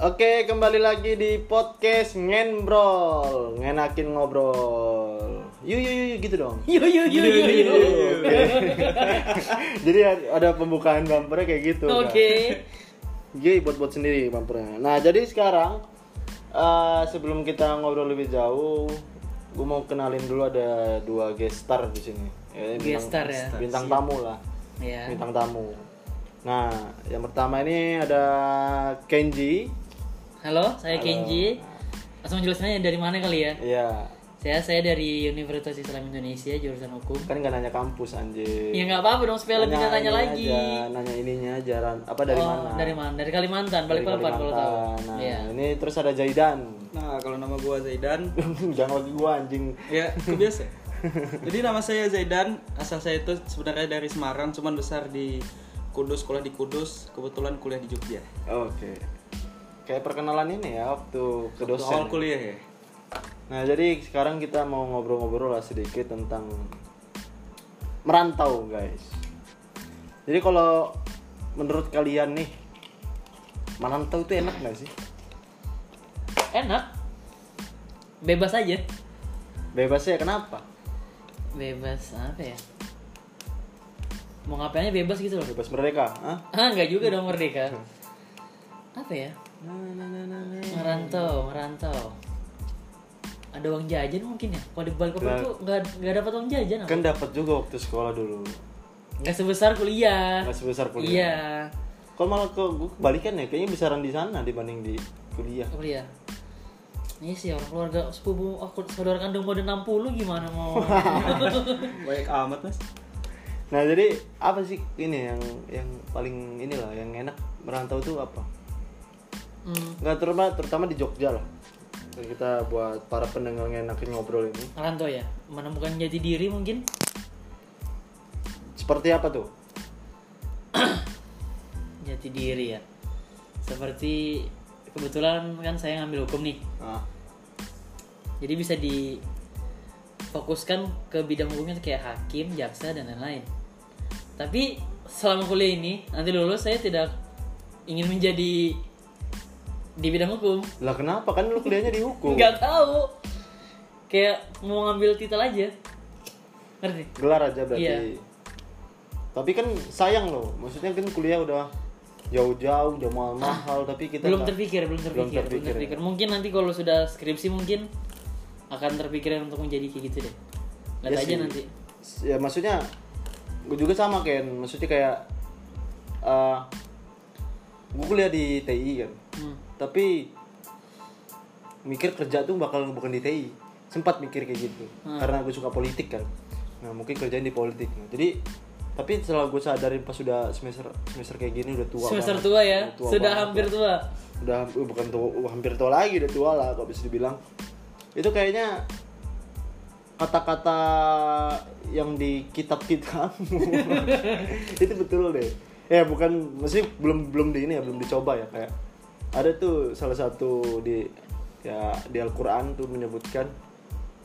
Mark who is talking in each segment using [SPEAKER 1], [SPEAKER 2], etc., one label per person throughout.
[SPEAKER 1] Oke, kembali lagi di podcast Ngenbrol. Ngenakin ngobrol. Yu yu yu yu, gitu dong.
[SPEAKER 2] Yo yo yo yo yo.
[SPEAKER 1] Oke. Jadi ada pembukaan bumpernya kayak gitu. Kak.
[SPEAKER 2] Oke.
[SPEAKER 1] Jadi buat-buat sendiri bumpernya. Nah, jadi sekarang eh, sebelum kita ngobrol lebih jauh, gue mau kenalin dulu ada dua guest star di sini. Ya,
[SPEAKER 2] Guest star ya.
[SPEAKER 1] Bintang tamu lah.
[SPEAKER 2] Ya.
[SPEAKER 1] Bintang tamu. Nah, yang pertama ini ada Kenji.
[SPEAKER 2] Halo, saya Kenji. Langsung jelasinnya dari mana kali ya?
[SPEAKER 1] Iya.
[SPEAKER 2] Saya saya dari Universitas Islam Indonesia jurusan hukum.
[SPEAKER 1] Kan nggak nanya kampus anjir.
[SPEAKER 2] Ya nggak apa-apa dong, supaya lebih nggak tanya
[SPEAKER 1] ini
[SPEAKER 2] lagi.
[SPEAKER 1] aja, nanya ininya jalan apa dari
[SPEAKER 2] Oh,
[SPEAKER 1] mana?
[SPEAKER 2] Dari mana? Dari Kalimantan,
[SPEAKER 1] Dari
[SPEAKER 2] Balikpapan kalau tahu.
[SPEAKER 1] Kalimantan. Nah,
[SPEAKER 2] Iya.
[SPEAKER 1] ini terus ada Jaidan.
[SPEAKER 3] Nah, kalau nama gua Zaidan,
[SPEAKER 1] Jangan lagi gua anjing.
[SPEAKER 3] ya kebiasa. Jadi nama saya Zaidan, asal saya itu sebenarnya dari Semarang, cuman besar di Kudus, kuliah di Kudus, kebetulan kuliah di Jogja.
[SPEAKER 1] Oke. Kayak perkenalan ini ya waktu ke
[SPEAKER 3] Waktu
[SPEAKER 1] dosen.
[SPEAKER 3] awal kuliah ya.
[SPEAKER 1] Nah, jadi sekarang kita mau ngobrol-ngobrol lah sedikit tentang merantau, guys. Jadi kalau menurut kalian nih merantau itu enak nggak sih?
[SPEAKER 2] Enak. Bebas aja.
[SPEAKER 1] Bebasnya ya, kenapa?
[SPEAKER 2] Bebas apa ya? Mau ngapain aja bebas gitu loh.
[SPEAKER 1] Bebas merdeka, ah?
[SPEAKER 2] Ah, nggak juga dong merdeka. Apa ya? Merantau, merantau. Ada uang jajan mungkin ya? Kalau di Balikpapan
[SPEAKER 1] Nah.
[SPEAKER 2] tuh nggak nggak dapat uang jajan apa?
[SPEAKER 1] Kan dapat juga waktu sekolah dulu.
[SPEAKER 2] Nggak sebesar kuliah.
[SPEAKER 1] Nggak sebesar kuliah.
[SPEAKER 2] Iya,
[SPEAKER 1] Kalau malah ke gue kebalikan ya, kayaknya besaran di sana dibanding di kuliah.
[SPEAKER 2] kuliah. Ini sih orang keluarga sepupu aku saudara kandung mau ada 60 gimana mau?
[SPEAKER 3] Banyak amat, Mas.
[SPEAKER 1] Nah jadi apa sih ini yang yang paling inilah yang enak merantau tuh apa?
[SPEAKER 2] hmm,
[SPEAKER 1] Nggak terutama terutama di Jogja lah. Jadi kita buat para pendengar yang enakin ngobrol ini.
[SPEAKER 2] merantau ya, menemukan jati diri mungkin.
[SPEAKER 1] Seperti apa tuh?
[SPEAKER 2] Jati diri ya. Seperti kebetulan kan saya ngambil hukum nih.
[SPEAKER 1] Ah,
[SPEAKER 2] Jadi bisa difokuskan ke bidang hukumnya tuh kayak hakim, jaksa dan lain-lain. Tapi selama kuliah ini nanti lulus saya tidak ingin menjadi di bidang hukum.
[SPEAKER 1] lah kenapa kan lu kuliahnya di hukum?
[SPEAKER 2] Nggak tahu. Kayak mau ngambil titel aja. Ngerti?
[SPEAKER 1] Gelar aja berarti.
[SPEAKER 2] Iya.
[SPEAKER 1] Tapi kan sayang loh. Maksudnya kan kuliah udah jauh-jauh, jauh mahal-mahal, tapi kita
[SPEAKER 2] belum
[SPEAKER 1] nggak-
[SPEAKER 2] terpikir, belum terpikir, belum
[SPEAKER 1] terpikir, ya.
[SPEAKER 2] terpikir. Mungkin nanti kalau sudah skripsi mungkin akan terpikir untuk menjadi kayak gitu deh. Lihat
[SPEAKER 1] Ya
[SPEAKER 2] aja
[SPEAKER 1] sih.
[SPEAKER 2] nanti.
[SPEAKER 1] ya maksudnya gue juga sama Ken maksudnya kayak eh gue kuliah di TI kan
[SPEAKER 2] Hmm.
[SPEAKER 1] tapi mikir kerja tuh bakal bukan di TI sempat mikir kayak gitu
[SPEAKER 2] Hmm.
[SPEAKER 1] karena gue suka politik kan nah mungkin kerjain di politik Nah, jadi tapi setelah gue sadarin pas sudah semester semester kayak gini udah tua
[SPEAKER 2] Semester
[SPEAKER 1] banget.
[SPEAKER 2] tua ya,
[SPEAKER 1] Udah tua
[SPEAKER 2] sudah
[SPEAKER 1] banget.
[SPEAKER 2] hampir tua.
[SPEAKER 1] udah hamp- uh, bukan tua uh, hampir tua lagi udah tua lah kalau bisa dibilang itu kayaknya kata-kata yang di kitab kitabmu itu betul deh ya bukan masih belum belum di ini ya belum dicoba ya kayak ada tuh salah satu di ya di Al-Qur'an tuh menyebutkan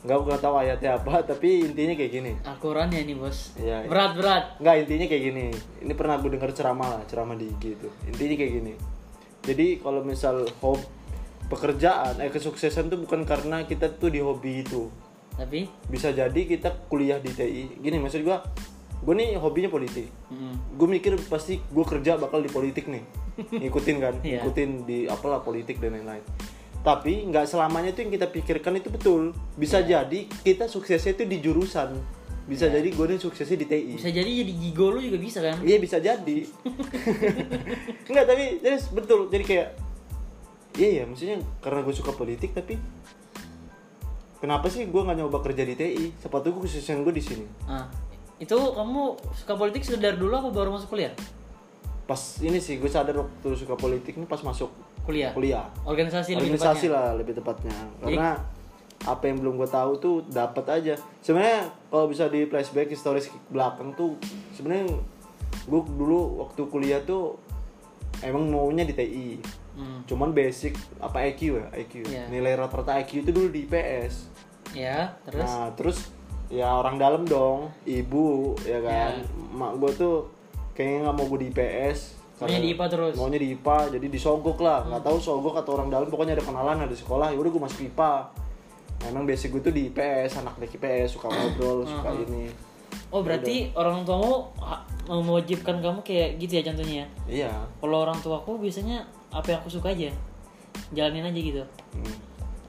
[SPEAKER 1] nggak aku nggak tahu ayatnya apa tapi intinya kayak gini
[SPEAKER 2] Al-Quran ya nih bos.
[SPEAKER 1] Iya, iya.
[SPEAKER 2] berat berat.
[SPEAKER 1] Nggak, intinya kayak gini. Ini pernah gue dengar ceramah lah, ceramah di IG itu. Intinya kayak gini. Jadi kalau misal hobi pekerjaan, eh kesuksesan tuh bukan karena kita tuh di hobi itu.
[SPEAKER 2] Tapi
[SPEAKER 1] Bisa jadi kita kuliah di TI. Gini maksud gua, gue nih hobinya politik. Gue mikir pasti gue kerja bakal di politik nih. Ngikutin kan,
[SPEAKER 2] Iya.
[SPEAKER 1] ngikutin di apalah politik dan lain-lain. Tapi nggak selamanya tuh yang kita pikirkan itu betul. Bisa jadi kita suksesnya itu di jurusan. Bisa jadi gue nih suksesnya di TI.
[SPEAKER 2] bisa jadi jadi gigolo juga bisa kan?
[SPEAKER 1] Iya bisa jadi. Enggak tapi jadi betul jadi kayak iya ya maksudnya karena gue suka politik tapi kenapa sih gue nggak nyoba kerja di TI? Sepatu gue kesuksesan gue di sini.
[SPEAKER 2] Ah, itu kamu suka politik sudah dari dulu apa baru masuk kuliah?
[SPEAKER 1] Pas ini sih gue sadar waktu suka politik ini pas masuk
[SPEAKER 2] Kuliah.
[SPEAKER 1] kuliah.
[SPEAKER 2] Organisasi, lebih
[SPEAKER 1] Organisasi
[SPEAKER 2] tepatnya.
[SPEAKER 1] lah lebih tepatnya. Karena apa yang belum gue tahu tuh dapat aja. Sebenarnya kalau bisa di flashback historis ke belakang tuh sebenarnya gue dulu waktu kuliah tuh emang maunya di TI.
[SPEAKER 2] Hmm.
[SPEAKER 1] cuman basic apa IQ ya IQ
[SPEAKER 2] Iya.
[SPEAKER 1] nilai rata-rata IQ itu dulu di IPS
[SPEAKER 2] Ya, terus
[SPEAKER 1] nah terus ya orang dalam
[SPEAKER 2] Ya.
[SPEAKER 1] dong ibu ya kan mak gue tuh kayaknya nggak mau gue di IPS
[SPEAKER 2] Maunya di IPA terus. Hmm.
[SPEAKER 1] maunya di IPA jadi disogok lah nggak tahu sogok atau orang dalam pokoknya ada kenalan ada sekolah ya udah gue masuk IPA Nah, emang basic gue tuh di IPS anak dari IPS suka ngobrol suka
[SPEAKER 2] Hmm.
[SPEAKER 1] ini
[SPEAKER 2] Oh berarti orang tuamu ha- mewajibkan kamu kayak gitu ya contohnya ya?
[SPEAKER 1] iya
[SPEAKER 2] Kalau orang tuaku biasanya apa yang aku suka aja jalanin aja gitu.
[SPEAKER 1] Hmm.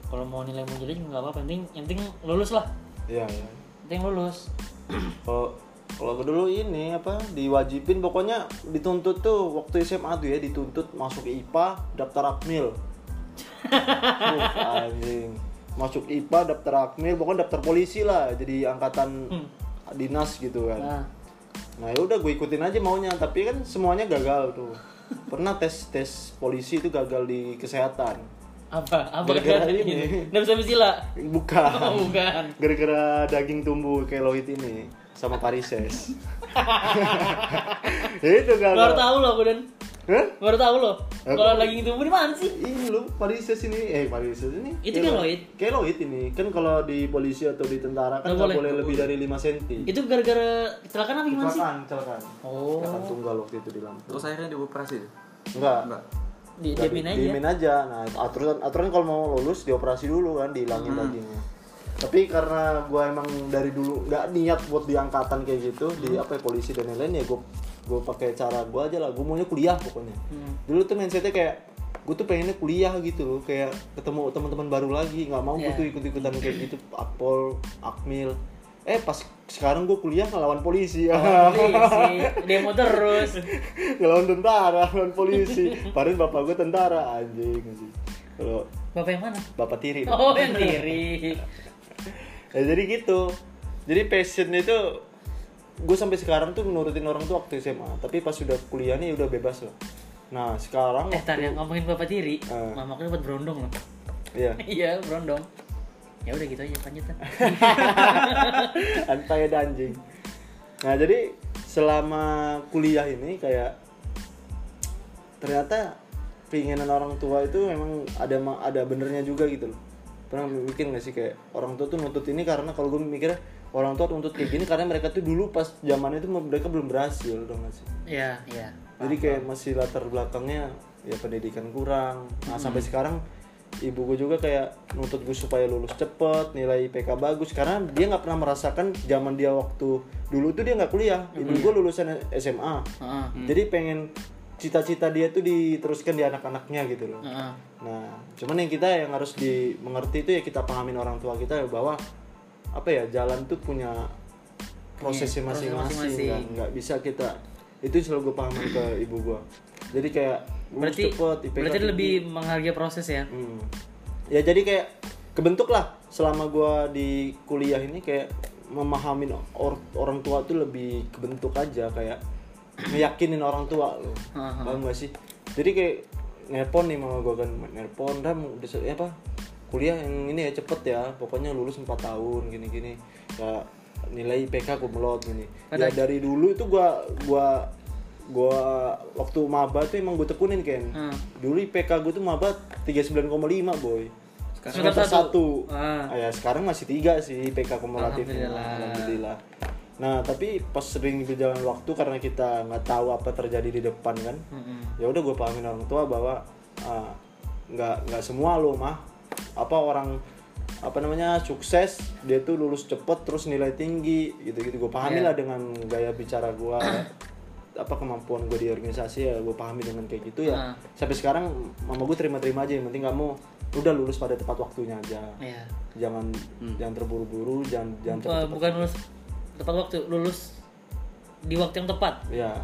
[SPEAKER 2] Kalau mau nilai mau jelek juga nggak apa-apa. Yang penting, yang penting lulus lah.
[SPEAKER 1] iya iya
[SPEAKER 2] Yang penting lulus.
[SPEAKER 1] kalau kalau gue dulu ini apa diwajibin pokoknya dituntut tuh waktu SMA tuh ya dituntut masuk IPA daftar akmil Duh, anjing masuk IPA daftar akmil pokoknya daftar polisi lah jadi angkatan dinas gitu kan
[SPEAKER 2] Nah,
[SPEAKER 1] Nah ya udah gue ikutin aja maunya, tapi kan semuanya gagal tuh. Pernah tes tes polisi itu gagal di kesehatan.
[SPEAKER 2] apa? Apa
[SPEAKER 1] Gara-gara
[SPEAKER 2] gara-gara
[SPEAKER 1] ini.
[SPEAKER 2] ini? Nggak bisa bisila.
[SPEAKER 1] Bukan.
[SPEAKER 2] Oh, bukan.
[SPEAKER 1] Gara-gara daging tumbuh keloid ini sama parises. itu
[SPEAKER 2] Baru
[SPEAKER 1] gagal.
[SPEAKER 2] tahu loh aku dan
[SPEAKER 1] Hah?
[SPEAKER 2] baru tahu loh.
[SPEAKER 1] Apa?
[SPEAKER 2] Kalau lagi tumbuh di mana sih?
[SPEAKER 1] Ini lu parises ini, eh parises ini.
[SPEAKER 2] Itu kan,
[SPEAKER 1] Keloid ini kan kalau di polisi atau di tentara kan
[SPEAKER 2] Nggak
[SPEAKER 1] nggak
[SPEAKER 2] boleh.
[SPEAKER 1] boleh lebih dari 5 cm.
[SPEAKER 2] Itu gara-gara kecelakaan apa gimana sih?
[SPEAKER 1] Kecelakaan, kecelakaan.
[SPEAKER 2] Oh.
[SPEAKER 1] Kecelakaan tunggal waktu itu di Lampung.
[SPEAKER 3] Terus akhirnya dioperasi.
[SPEAKER 1] Enggak.
[SPEAKER 3] Enggak.
[SPEAKER 2] Di
[SPEAKER 1] Nggak,
[SPEAKER 2] diamin
[SPEAKER 1] di-
[SPEAKER 2] aja.
[SPEAKER 1] diemin aja. Nah, aturan aturan kalau mau lulus dioperasi dulu kan, dihilangin
[SPEAKER 2] Hmm.
[SPEAKER 1] dagingnya. Tapi karena gua emang dari dulu nggak niat buat di angkatan kayak gitu, di
[SPEAKER 2] Hmm.
[SPEAKER 1] apa ya, polisi dan lain-lain ya gua gua pakai cara gua aja lah. Gua maunya kuliah pokoknya.
[SPEAKER 2] Hmm.
[SPEAKER 1] Dulu tuh mindsetnya kayak gua tuh pengennya kuliah gitu loh, kayak ketemu teman-teman baru lagi, nggak mau gua
[SPEAKER 2] Iya.
[SPEAKER 1] tuh ikut-ikutan kayak gitu, akpol, akmil. Eh pas sekarang gua kuliah ngelawan polisi.
[SPEAKER 2] Oh, Polisi, demo terus.
[SPEAKER 1] ngelawan tentara, ngelawan polisi. Padahal bapak gue tentara anjing anjing. Kalau
[SPEAKER 2] Bapak yang mana?
[SPEAKER 1] bapak tiri. dong.
[SPEAKER 2] Oh yang kiri.
[SPEAKER 1] Ya, jadi gitu. Jadi passion itu gue sampai sekarang tuh nurutin orang tuh waktu SMA, tapi pas sudah kuliah nih udah bebas loh. Nah, sekarang
[SPEAKER 2] Eh tar yang ngomongin bapak tiri,
[SPEAKER 1] Eh.
[SPEAKER 2] mamaku dapat berondong loh.
[SPEAKER 1] iya.
[SPEAKER 2] Iya berondong. Ya udah gitu aja lanjut lah.
[SPEAKER 1] Antai ada anjing. Nah, jadi selama kuliah ini kayak ternyata keinginan orang tua itu memang ada ma- ada benernya juga gitu loh. Pernah mikir gak sih kayak orang tua tuh nuntut ini karena kalau gue mikirnya orang tua tuh nuntut kayak gini karena mereka tuh dulu pas zamannya itu mereka belum berhasil dong gak sih.
[SPEAKER 2] Iya iya.
[SPEAKER 1] Jadi kayak masih latar belakangnya ya pendidikan kurang. Nah, sampai sekarang ibu gue juga kayak nuntut gue supaya lulus cepet, nilai IPK bagus karena dia nggak pernah merasakan zaman dia waktu dulu tuh dia nggak kuliah. Ibu gue lulusan SMA.
[SPEAKER 2] Heeh.
[SPEAKER 1] Jadi pengen cita-cita dia tuh diteruskan di anak-anaknya gitu loh.
[SPEAKER 2] Heeh.
[SPEAKER 1] Nah, cuman yang kita yang harus dimengerti itu ya kita pahamin orang tua kita ya bahwa apa ya jalan tuh punya prosesnya
[SPEAKER 2] Punya Iya, proses
[SPEAKER 1] masing-masing
[SPEAKER 2] masing-masing.
[SPEAKER 1] kan nggak bisa kita itu selalu gue pahamin ke ibu gue jadi kayak lulus
[SPEAKER 2] Berarti
[SPEAKER 1] cepet, IPK
[SPEAKER 2] berarti
[SPEAKER 1] tinggi.
[SPEAKER 2] lebih menghargai proses ya.
[SPEAKER 1] Hmm. ya jadi kayak kebentuk lah selama gue di kuliah ini kayak memahamin or- orang tua tuh lebih kebentuk aja kayak meyakinin orang tua lo
[SPEAKER 2] Aha.
[SPEAKER 1] paham gak sih jadi kayak nelpon nih mama gue kan nelpon ram udah se- apa kuliah yang ini ya cepet ya pokoknya lulus 4 tahun gini gini ya, nilai IPK kumlot gini ya dari dulu itu gua gua gua waktu maba tuh emang gue tekunin kan
[SPEAKER 2] Hmm.
[SPEAKER 1] dulu IPK gue tuh maba 39,5 boy
[SPEAKER 2] Sekarang
[SPEAKER 1] semester
[SPEAKER 2] satu.
[SPEAKER 1] satu
[SPEAKER 2] Ah.
[SPEAKER 1] Ah, ya sekarang masih tiga sih IPK kumulatif
[SPEAKER 2] Alhamdulillah.
[SPEAKER 1] Alhamdulillah. Nah tapi pas sering berjalan waktu karena kita nggak tahu apa terjadi di depan kan,
[SPEAKER 2] Mm-mm.
[SPEAKER 1] ya udah gue pahamin orang tua bahwa ah, nggak nggak semua lo mah apa orang apa namanya sukses dia tuh lulus cepet terus nilai tinggi gitu gitu gue
[SPEAKER 2] Iya.
[SPEAKER 1] pahami lah dengan gaya bicara ya. gue apa kemampuan gue di organisasi ya gue pahami dengan kayak gitu ya
[SPEAKER 2] Ah.
[SPEAKER 1] sampai sekarang mama gue terima-terima aja yang penting kamu udah lulus pada tepat waktunya aja
[SPEAKER 2] Iya.
[SPEAKER 1] jangan jangan terburu-buru jangan jangan
[SPEAKER 2] Eh,
[SPEAKER 1] cepet-cepet
[SPEAKER 2] bukan lulus tepat waktu, lulus di waktu yang tepat.
[SPEAKER 1] ya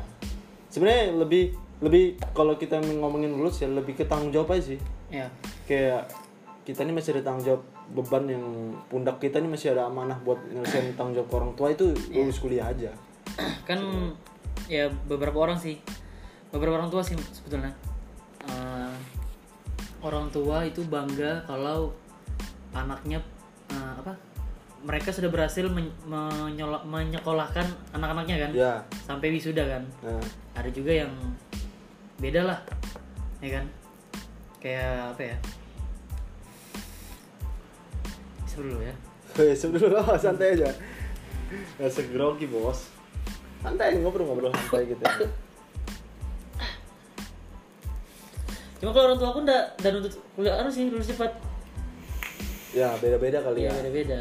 [SPEAKER 1] sebenarnya lebih lebih kalau kita ngomongin lulus ya lebih ke tanggung jawab aja sih
[SPEAKER 2] Iya.
[SPEAKER 1] kayak kita ini masih ada tanggung jawab beban yang pundak kita ini masih ada amanah buat nyelesain tanggung jawab ke orang tua itu lulus kuliah aja
[SPEAKER 2] kan ya beberapa orang sih beberapa orang tua sih sebetulnya Eh, orang tua itu bangga kalau anaknya eh, apa mereka sudah berhasil men- menyola- menyekolahkan anak-anaknya kan
[SPEAKER 1] ya
[SPEAKER 2] sampai wisuda kan
[SPEAKER 1] nah
[SPEAKER 2] ada juga yang beda lah ya kan kayak apa ya Seru dulu ya
[SPEAKER 1] Hei, Eh, sebelum santai aja nggak segrogi bos santai ngobrol-ngobrol santai gitu
[SPEAKER 2] Cuma kalau orang tua aku ndak ndak nuntut kuliah anu sih lulus cepat.
[SPEAKER 1] ya beda-beda kali
[SPEAKER 2] Iya,
[SPEAKER 1] ya
[SPEAKER 2] beda-beda.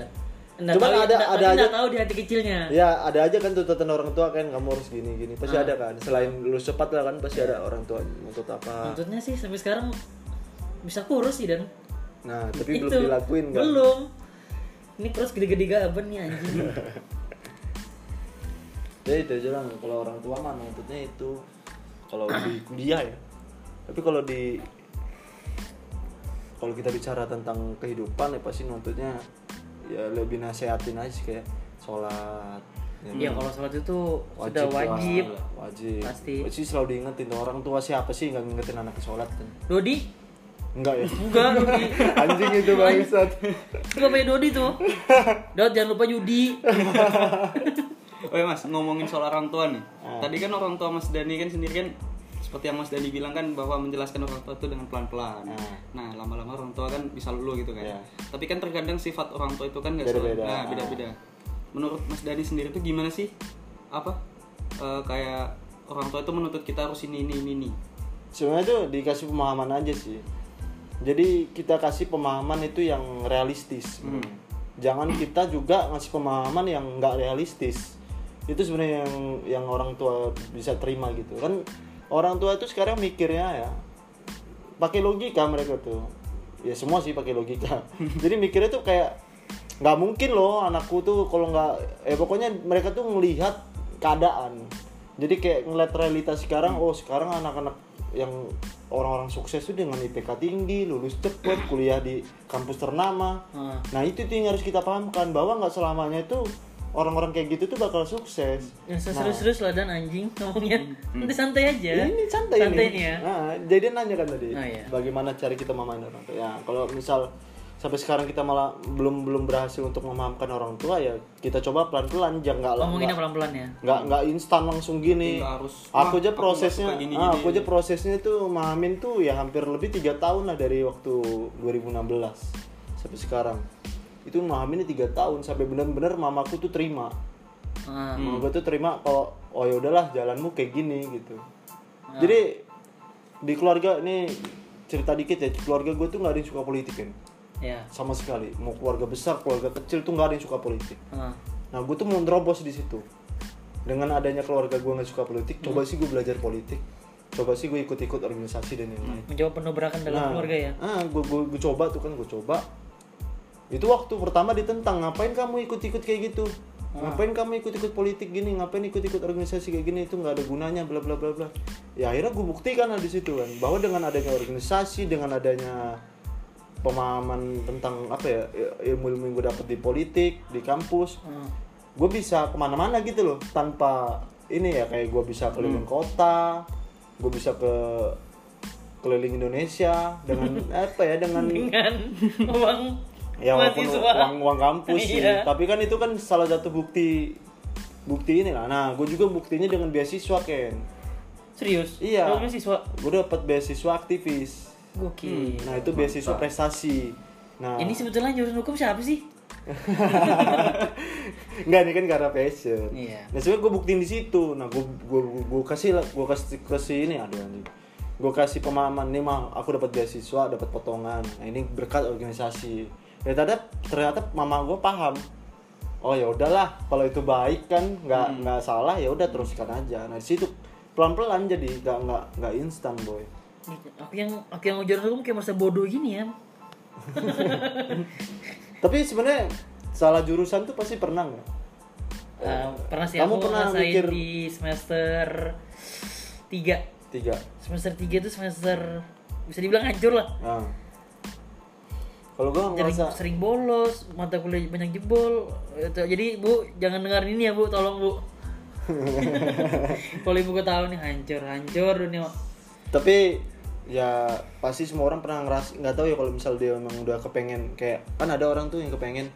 [SPEAKER 2] Ndak
[SPEAKER 1] Cuman
[SPEAKER 2] tahu,
[SPEAKER 1] ada-
[SPEAKER 2] ndak-
[SPEAKER 1] ada
[SPEAKER 2] tapi ndak
[SPEAKER 1] aja-
[SPEAKER 2] tahu di hati kecilnya.
[SPEAKER 1] Ya ada aja kan tuntutan orang tua kan kamu harus gini gini pasti ada kan selain lulus cepat lah kan pasti ada orang tua nuntut apa
[SPEAKER 2] Nuntutnya sih sampai sekarang bisa kurus sih dan
[SPEAKER 1] nah tapi belum dilakuin kan
[SPEAKER 2] Belum. Ini terus gede-gede gaban nih anjing.
[SPEAKER 1] ya itu aja lah kalau orang tua mah nuntutnya itu kalau di kuliah ya tapi kalau di kalau kita bicara tentang kehidupan ya pasti nuntutnya ya lebih nasehatin aja sih, kayak sholat ya kan?
[SPEAKER 2] Iya, kalau sholat itu sudah
[SPEAKER 1] lah,
[SPEAKER 2] wajib.
[SPEAKER 1] wajib
[SPEAKER 2] Pasti.
[SPEAKER 1] pasti selalu diingetin tuh orang tua siapa sih nggak ngingetin anak ke sholat kan
[SPEAKER 2] Dodi?
[SPEAKER 1] enggak ya
[SPEAKER 2] Enggak, Dodi.
[SPEAKER 1] anjing itu bangsat
[SPEAKER 2] Itu namanya Dodi tuh. Dot, jangan lupa judi.
[SPEAKER 3] Oh ya mas, ngomongin soal orang tua nih. Tadi kan orang tua Mas Dani kan sendiri kan seperti yang Mas Dani bilang kan bahwa menjelaskan orang tua itu dengan pelan-pelan.
[SPEAKER 1] Hmm.
[SPEAKER 3] Nah lama-lama orang tua kan bisa lulu gitu kan.
[SPEAKER 1] Iya.
[SPEAKER 3] Tapi kan terkadang sifat orang tua itu kan nggak selalu-
[SPEAKER 1] Beda-beda.
[SPEAKER 3] Nah, beda-beda. Menurut Mas Dani sendiri tuh gimana sih? Apa? Eh, kayak orang tua itu menuntut kita harus ini ini ini. ini.
[SPEAKER 1] sebenarnya tuh dikasih pemahaman aja sih jadi kita kasih pemahaman itu yang realistis sebenarnya. jangan kita juga ngasih pemahaman yang nggak realistis itu sebenarnya yang yang orang tua bisa terima gitu kan orang tua itu sekarang mikirnya ya pakai logika mereka tuh ya semua sih pakai logika jadi mikirnya tuh kayak nggak mungkin loh anakku tuh kalau nggak eh pokoknya mereka tuh melihat keadaan jadi kayak ngeliat realitas sekarang oh sekarang anak-anak yang orang-orang sukses tuh dengan IPK tinggi lulus cepet kuliah di kampus ternama
[SPEAKER 2] Hmm.
[SPEAKER 1] nah itu tuh yang harus kita pahamkan bahwa nggak selamanya itu orang-orang kayak gitu tuh bakal sukses
[SPEAKER 2] Ya, serius-serius lah dan anjing ngomongnya.
[SPEAKER 1] Hmm.
[SPEAKER 2] Nanti santai aja.
[SPEAKER 1] ini santai,
[SPEAKER 2] Iya. santai
[SPEAKER 1] ini.
[SPEAKER 2] nih ya.
[SPEAKER 1] Nah, jadi nanya kan tadi,
[SPEAKER 2] Nah, iya.
[SPEAKER 1] bagaimana cari kita memainkan orang tua. Ya, kalau misal sampai sekarang kita malah belum belum berhasil untuk memahamkan orang tua ya kita coba pelan-pelan jangan
[SPEAKER 2] Ngomonginnya
[SPEAKER 1] nggak
[SPEAKER 2] pelan-pelan ya.
[SPEAKER 1] nggak nggak instan langsung gini
[SPEAKER 3] Nggak harus,
[SPEAKER 1] aku
[SPEAKER 3] "Wah,
[SPEAKER 1] aja
[SPEAKER 3] aku
[SPEAKER 1] prosesnya
[SPEAKER 3] nggak suka gini,
[SPEAKER 1] ah,
[SPEAKER 3] gini."
[SPEAKER 1] aku aja prosesnya tuh mahamin tuh ya hampir lebih tiga tahun lah dari waktu 2016 sampai sekarang itu mahaminnya tiga tahun sampai benar-benar mamaku tuh terima
[SPEAKER 2] Ah,
[SPEAKER 1] Mama gue Nah, tuh terima kalau oh ya udahlah jalanmu kayak gini gitu. Jadi di keluarga ini cerita dikit ya keluarga gue tuh nggak ada yang suka politik kan
[SPEAKER 2] ya.
[SPEAKER 1] sama sekali mau keluarga besar keluarga kecil tuh nggak ada yang suka politik.
[SPEAKER 2] Ah.
[SPEAKER 1] Nah gue tuh mau nerobos di situ dengan adanya keluarga gue nggak suka politik coba sih gue belajar politik coba sih gue ikut-ikut organisasi dan lain-lain
[SPEAKER 2] Mencoba pendobrakan dalam keluarga ya.
[SPEAKER 1] ah gue coba tuh kan gue coba itu waktu pertama ditentang ngapain kamu ikut-ikut kayak gitu
[SPEAKER 2] Ah.
[SPEAKER 1] ngapain kamu ikut-ikut politik gini ngapain ikut-ikut organisasi kayak gini itu nggak ada gunanya bla bla bla bla ya akhirnya gue buktikan lah di situ kan bahwa dengan adanya organisasi dengan adanya pemahaman tentang apa ya ilmu-ilmu yang gue dapet di politik di kampus
[SPEAKER 2] Ah.
[SPEAKER 1] gue bisa kemana-mana gitu loh tanpa ini ya kayak gue bisa
[SPEAKER 2] Hmm.
[SPEAKER 1] keliling kota gue bisa ke keliling Indonesia dengan apa ya dengan
[SPEAKER 2] Dengan uang
[SPEAKER 1] ya walaupun
[SPEAKER 2] mahasiswa.
[SPEAKER 1] uang uang kampus sih
[SPEAKER 2] Iya.
[SPEAKER 1] tapi kan itu kan salah satu bukti bukti ini lah nah gue juga buktinya dengan beasiswa Ken
[SPEAKER 2] Serius?
[SPEAKER 1] Iya.
[SPEAKER 2] Kalau mahasiswa.
[SPEAKER 1] gue dapet beasiswa aktivis
[SPEAKER 2] Gokil.
[SPEAKER 1] nah itu beasiswa prestasi nah
[SPEAKER 2] Iya. Ini sebetulnya jurusan hukum siapa sih?
[SPEAKER 1] Enggak ini kan karena passion.
[SPEAKER 2] Iya.
[SPEAKER 1] Nah sebenarnya gue buktiin di situ. Nah gue gue gue kasih lah, gue kasih kasih ini aduh anjing. Gue kasih pemahaman nih mah, aku dapat beasiswa, dapat potongan. Nah ini berkat organisasi. Ya ternyata ternyata mama gue paham. Oh ya udahlah, kalau itu baik kan nggak nggak salah ya udah teruskan aja. Nah di situ pelan-pelan jadi nggak nggak nggak instan boy.
[SPEAKER 2] Aku yang aku yang jurusan hukum kayak merasa bodoh gini ya.
[SPEAKER 1] Tapi sebenarnya salah jurusan tuh pasti pernah nggak?
[SPEAKER 2] Eh, pernah sih
[SPEAKER 1] Kamu
[SPEAKER 2] aku
[SPEAKER 1] pernah
[SPEAKER 2] ngerasain
[SPEAKER 1] mikir-
[SPEAKER 2] di semester 3
[SPEAKER 1] Tiga.
[SPEAKER 2] semester 3 itu semester bisa dibilang hancur lah
[SPEAKER 1] Nah. Kalau gue
[SPEAKER 2] jadi
[SPEAKER 1] ngerasa
[SPEAKER 2] sering bolos mata kuliah banyak jebol Itu- jadi bu jangan dengar ini ya bu tolong bu kalau ibu gue tahu nih hancur hancur dunia
[SPEAKER 1] tapi ya pasti semua orang pernah ngeras nggak tahu ya kalau misal dia memang udah kepengen kayak kan ada orang tuh yang kepengen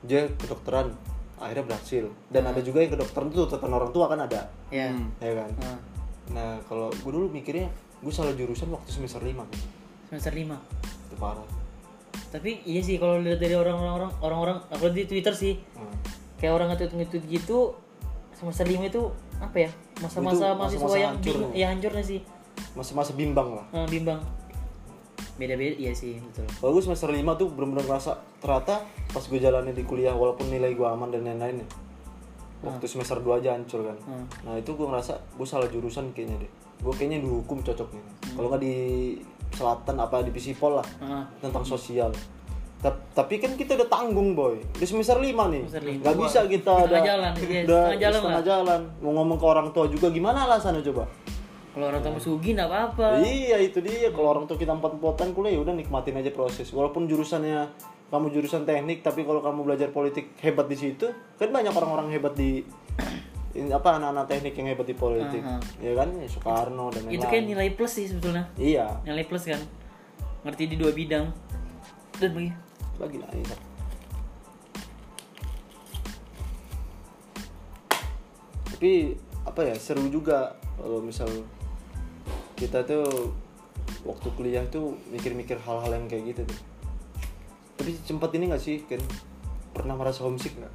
[SPEAKER 1] dia kedokteran akhirnya berhasil dan ada juga yang kedokteran tuh tuntutan orang tua kan ada
[SPEAKER 2] ya
[SPEAKER 1] ya kan
[SPEAKER 2] Nah,
[SPEAKER 1] nah kalau gue dulu mikirnya gue salah jurusan waktu semester 5 kan
[SPEAKER 2] semester 5
[SPEAKER 1] itu parah
[SPEAKER 2] tapi iya sih kalau lihat dari orang-orang orang- orang-orang apalagi di Twitter sih
[SPEAKER 1] Hmm.
[SPEAKER 2] kayak orang ngetweet ngetweet gitu semester lima itu apa ya masa-masa
[SPEAKER 1] Itu
[SPEAKER 2] mahasiswa
[SPEAKER 1] masa-masa
[SPEAKER 2] yang
[SPEAKER 1] hancur
[SPEAKER 2] bingung
[SPEAKER 1] ya?
[SPEAKER 2] ya hancurnya sih
[SPEAKER 1] masa-masa bimbang lah
[SPEAKER 2] Eh, bimbang beda-beda iya sih betul
[SPEAKER 1] kalau gue semester 5 tuh bener-bener ngerasa ternyata pas gue jalanin di kuliah walaupun nilai gue aman dan lain-lain ya waktu semester 2 aja hancur kan
[SPEAKER 2] Hmm.
[SPEAKER 1] nah itu gue ngerasa gue salah jurusan kayaknya deh gue kayaknya di hukum cocok nih
[SPEAKER 2] Hmm.
[SPEAKER 1] kalau nggak di selatan apa di visipol lah
[SPEAKER 2] Ah,
[SPEAKER 1] tentang sosial Ta- tapi kan kita udah tanggung boy di semester 5 nih
[SPEAKER 2] Semester lima.
[SPEAKER 1] nggak bisa kita
[SPEAKER 2] Setengah
[SPEAKER 1] ada
[SPEAKER 2] jalan,
[SPEAKER 1] udah
[SPEAKER 2] iya, setengah jalan
[SPEAKER 1] setengah jalan. mau ngomong ke orang tua juga gimana alasannya coba
[SPEAKER 2] kalau orang
[SPEAKER 1] Hmm.
[SPEAKER 2] tua sugi nggak apa-apa
[SPEAKER 1] Iya itu dia kalau orang tua kita empat-empatan kuliah ya udah nikmatin aja proses. Walaupun jurusannya kamu jurusan teknik tapi kalau kamu belajar politik hebat di situ kan banyak orang-orang hebat di in- apa anak-anak teknik yang hebat di politik.
[SPEAKER 2] Aha.
[SPEAKER 1] Ya kan Ya, Soekarno dan lain-lain.
[SPEAKER 2] itu kan nilai plus sih sebetulnya
[SPEAKER 1] Iya.
[SPEAKER 2] nilai plus kan ngerti di dua bidang dan bagi
[SPEAKER 1] Lagi lah iya. Tapi apa ya seru juga kalau misal kita tuh waktu kuliah tuh mikir-mikir hal-hal yang kayak gitu tuh. Tapi sempat ini gak sih kan pernah merasa homesick nggak?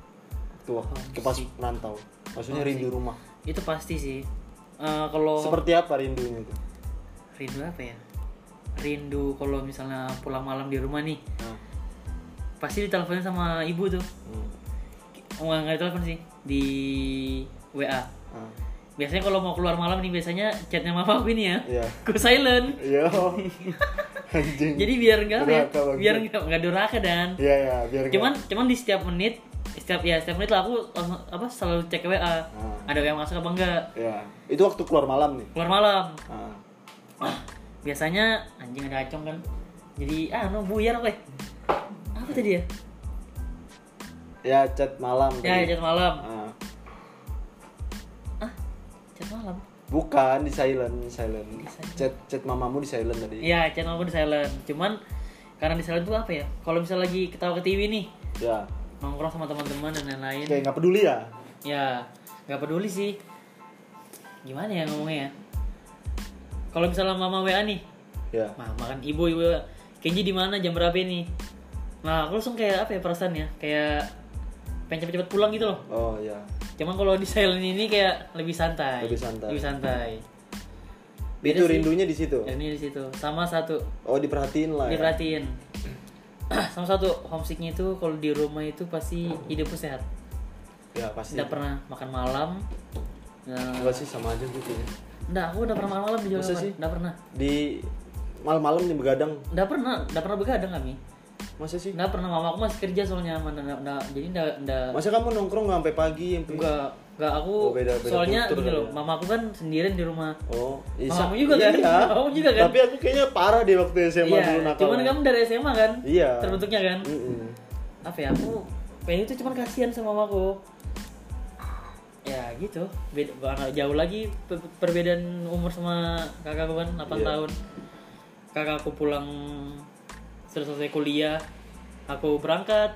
[SPEAKER 1] Waktu waktu ke pas nantau. Maksudnya rindu rumah.
[SPEAKER 2] itu pasti sih Eh, kalau
[SPEAKER 1] Seperti apa rindunya itu?
[SPEAKER 2] rindu apa ya rindu kalau misalnya pulang malam di rumah nih pasti diteleponin sama ibu tuh
[SPEAKER 1] Hmm.
[SPEAKER 2] nggak nggak telepon sih di WA
[SPEAKER 1] Ah.
[SPEAKER 2] biasanya kalau mau keluar malam nih biasanya chatnya mama aku ini ya
[SPEAKER 1] Iya.
[SPEAKER 2] ku silent
[SPEAKER 1] Iya. Anjing.
[SPEAKER 2] jadi biar nggak apa ya
[SPEAKER 1] Durhaka banget.
[SPEAKER 2] biar nggak nggak durhaka dan
[SPEAKER 1] Iya ya, biar nggak-
[SPEAKER 2] cuman cuman di setiap menit setiap ya setiap menit lah aku langsung- apa selalu cek ke WA
[SPEAKER 1] Ah.
[SPEAKER 2] ada yang masuk apa enggak
[SPEAKER 1] Ya, itu waktu keluar malam nih.
[SPEAKER 2] keluar malam
[SPEAKER 1] Ah.
[SPEAKER 2] Ah, biasanya anjing ada acong kan jadi ah no buyar apa ya? apa tadi ya
[SPEAKER 1] Ya chat malam.
[SPEAKER 2] ya
[SPEAKER 1] tadi.
[SPEAKER 2] chat malam
[SPEAKER 1] Ah.
[SPEAKER 2] ah chat malam
[SPEAKER 1] Bukan di silent, di silent.
[SPEAKER 2] silent.
[SPEAKER 1] Chat chat mamamu di silent tadi.
[SPEAKER 2] Iya, channel aku di silent. Cuman karena di silent tuh apa ya? Kalau misalnya lagi ketawa ke TV nih,
[SPEAKER 1] Ya.
[SPEAKER 2] Iya. nongkrong sama teman-teman dan lain-lain.
[SPEAKER 1] Kayak nggak peduli ya.
[SPEAKER 2] Ya, nggak peduli sih. Gimana ya ngomongnya ya? Kalau misalnya mama WA nih,
[SPEAKER 1] Ya.
[SPEAKER 2] mama kan ibu ibu Kenji di mana jam berapa nih? Nah, aku langsung kayak apa ya perasaannya? Kayak pengen cepet-cepet pulang gitu loh.
[SPEAKER 1] Oh ya.
[SPEAKER 2] Cuman kalau di silent ini kayak lebih santai.
[SPEAKER 1] Lebih santai.
[SPEAKER 2] Lebih santai. Beda
[SPEAKER 1] Itu
[SPEAKER 2] sih.
[SPEAKER 1] rindunya di situ.
[SPEAKER 2] Dan ini di situ sama satu
[SPEAKER 1] Oh diperhatiin lah. Ya.
[SPEAKER 2] diperhatiin sama satu homesicknya itu kalau di rumah itu pasti hidupku sehat
[SPEAKER 1] Ya, pasti.
[SPEAKER 2] tidak pernah makan malam Nah,
[SPEAKER 1] Enggak sih sama aja gitu ya.
[SPEAKER 2] enggak, aku udah pernah makan malam di
[SPEAKER 1] Masa
[SPEAKER 2] Jakarta.
[SPEAKER 1] sih?
[SPEAKER 2] Enggak pernah.
[SPEAKER 1] Di malam-malam nih begadang.
[SPEAKER 2] Enggak pernah, enggak pernah begadang kami.
[SPEAKER 1] Masa sih?
[SPEAKER 2] Enggak pernah, mama aku masih kerja soalnya sama nda- nda- jadi enggak enggak
[SPEAKER 1] Masa kamu nongkrong nggak sampai pagi yang
[SPEAKER 2] enggak enggak aku
[SPEAKER 1] Oh, beda- beda
[SPEAKER 2] soalnya
[SPEAKER 1] kultur
[SPEAKER 2] gini
[SPEAKER 1] kali
[SPEAKER 2] loh,
[SPEAKER 1] ya.
[SPEAKER 2] mama aku kan sendirian di rumah.
[SPEAKER 1] Oh, iya.
[SPEAKER 2] Mamamu juga kan? Mamamu juga kan?
[SPEAKER 1] Tapi aku kayaknya parah deh waktu SMA dulu
[SPEAKER 2] Iya,
[SPEAKER 1] nakal. ya.
[SPEAKER 2] cuman kamu dari SMA kan?
[SPEAKER 1] Iya.
[SPEAKER 2] Terbentuknya kan?
[SPEAKER 1] Mm-mm.
[SPEAKER 2] apa ya aku pengen itu cuman kasihan sama mamaku ya gitu beda nggak jauh lagi pe- perbedaan umur sama kakakku kan 8
[SPEAKER 1] Iya.
[SPEAKER 2] tahun kakakku pulang setelah selesai kuliah aku berangkat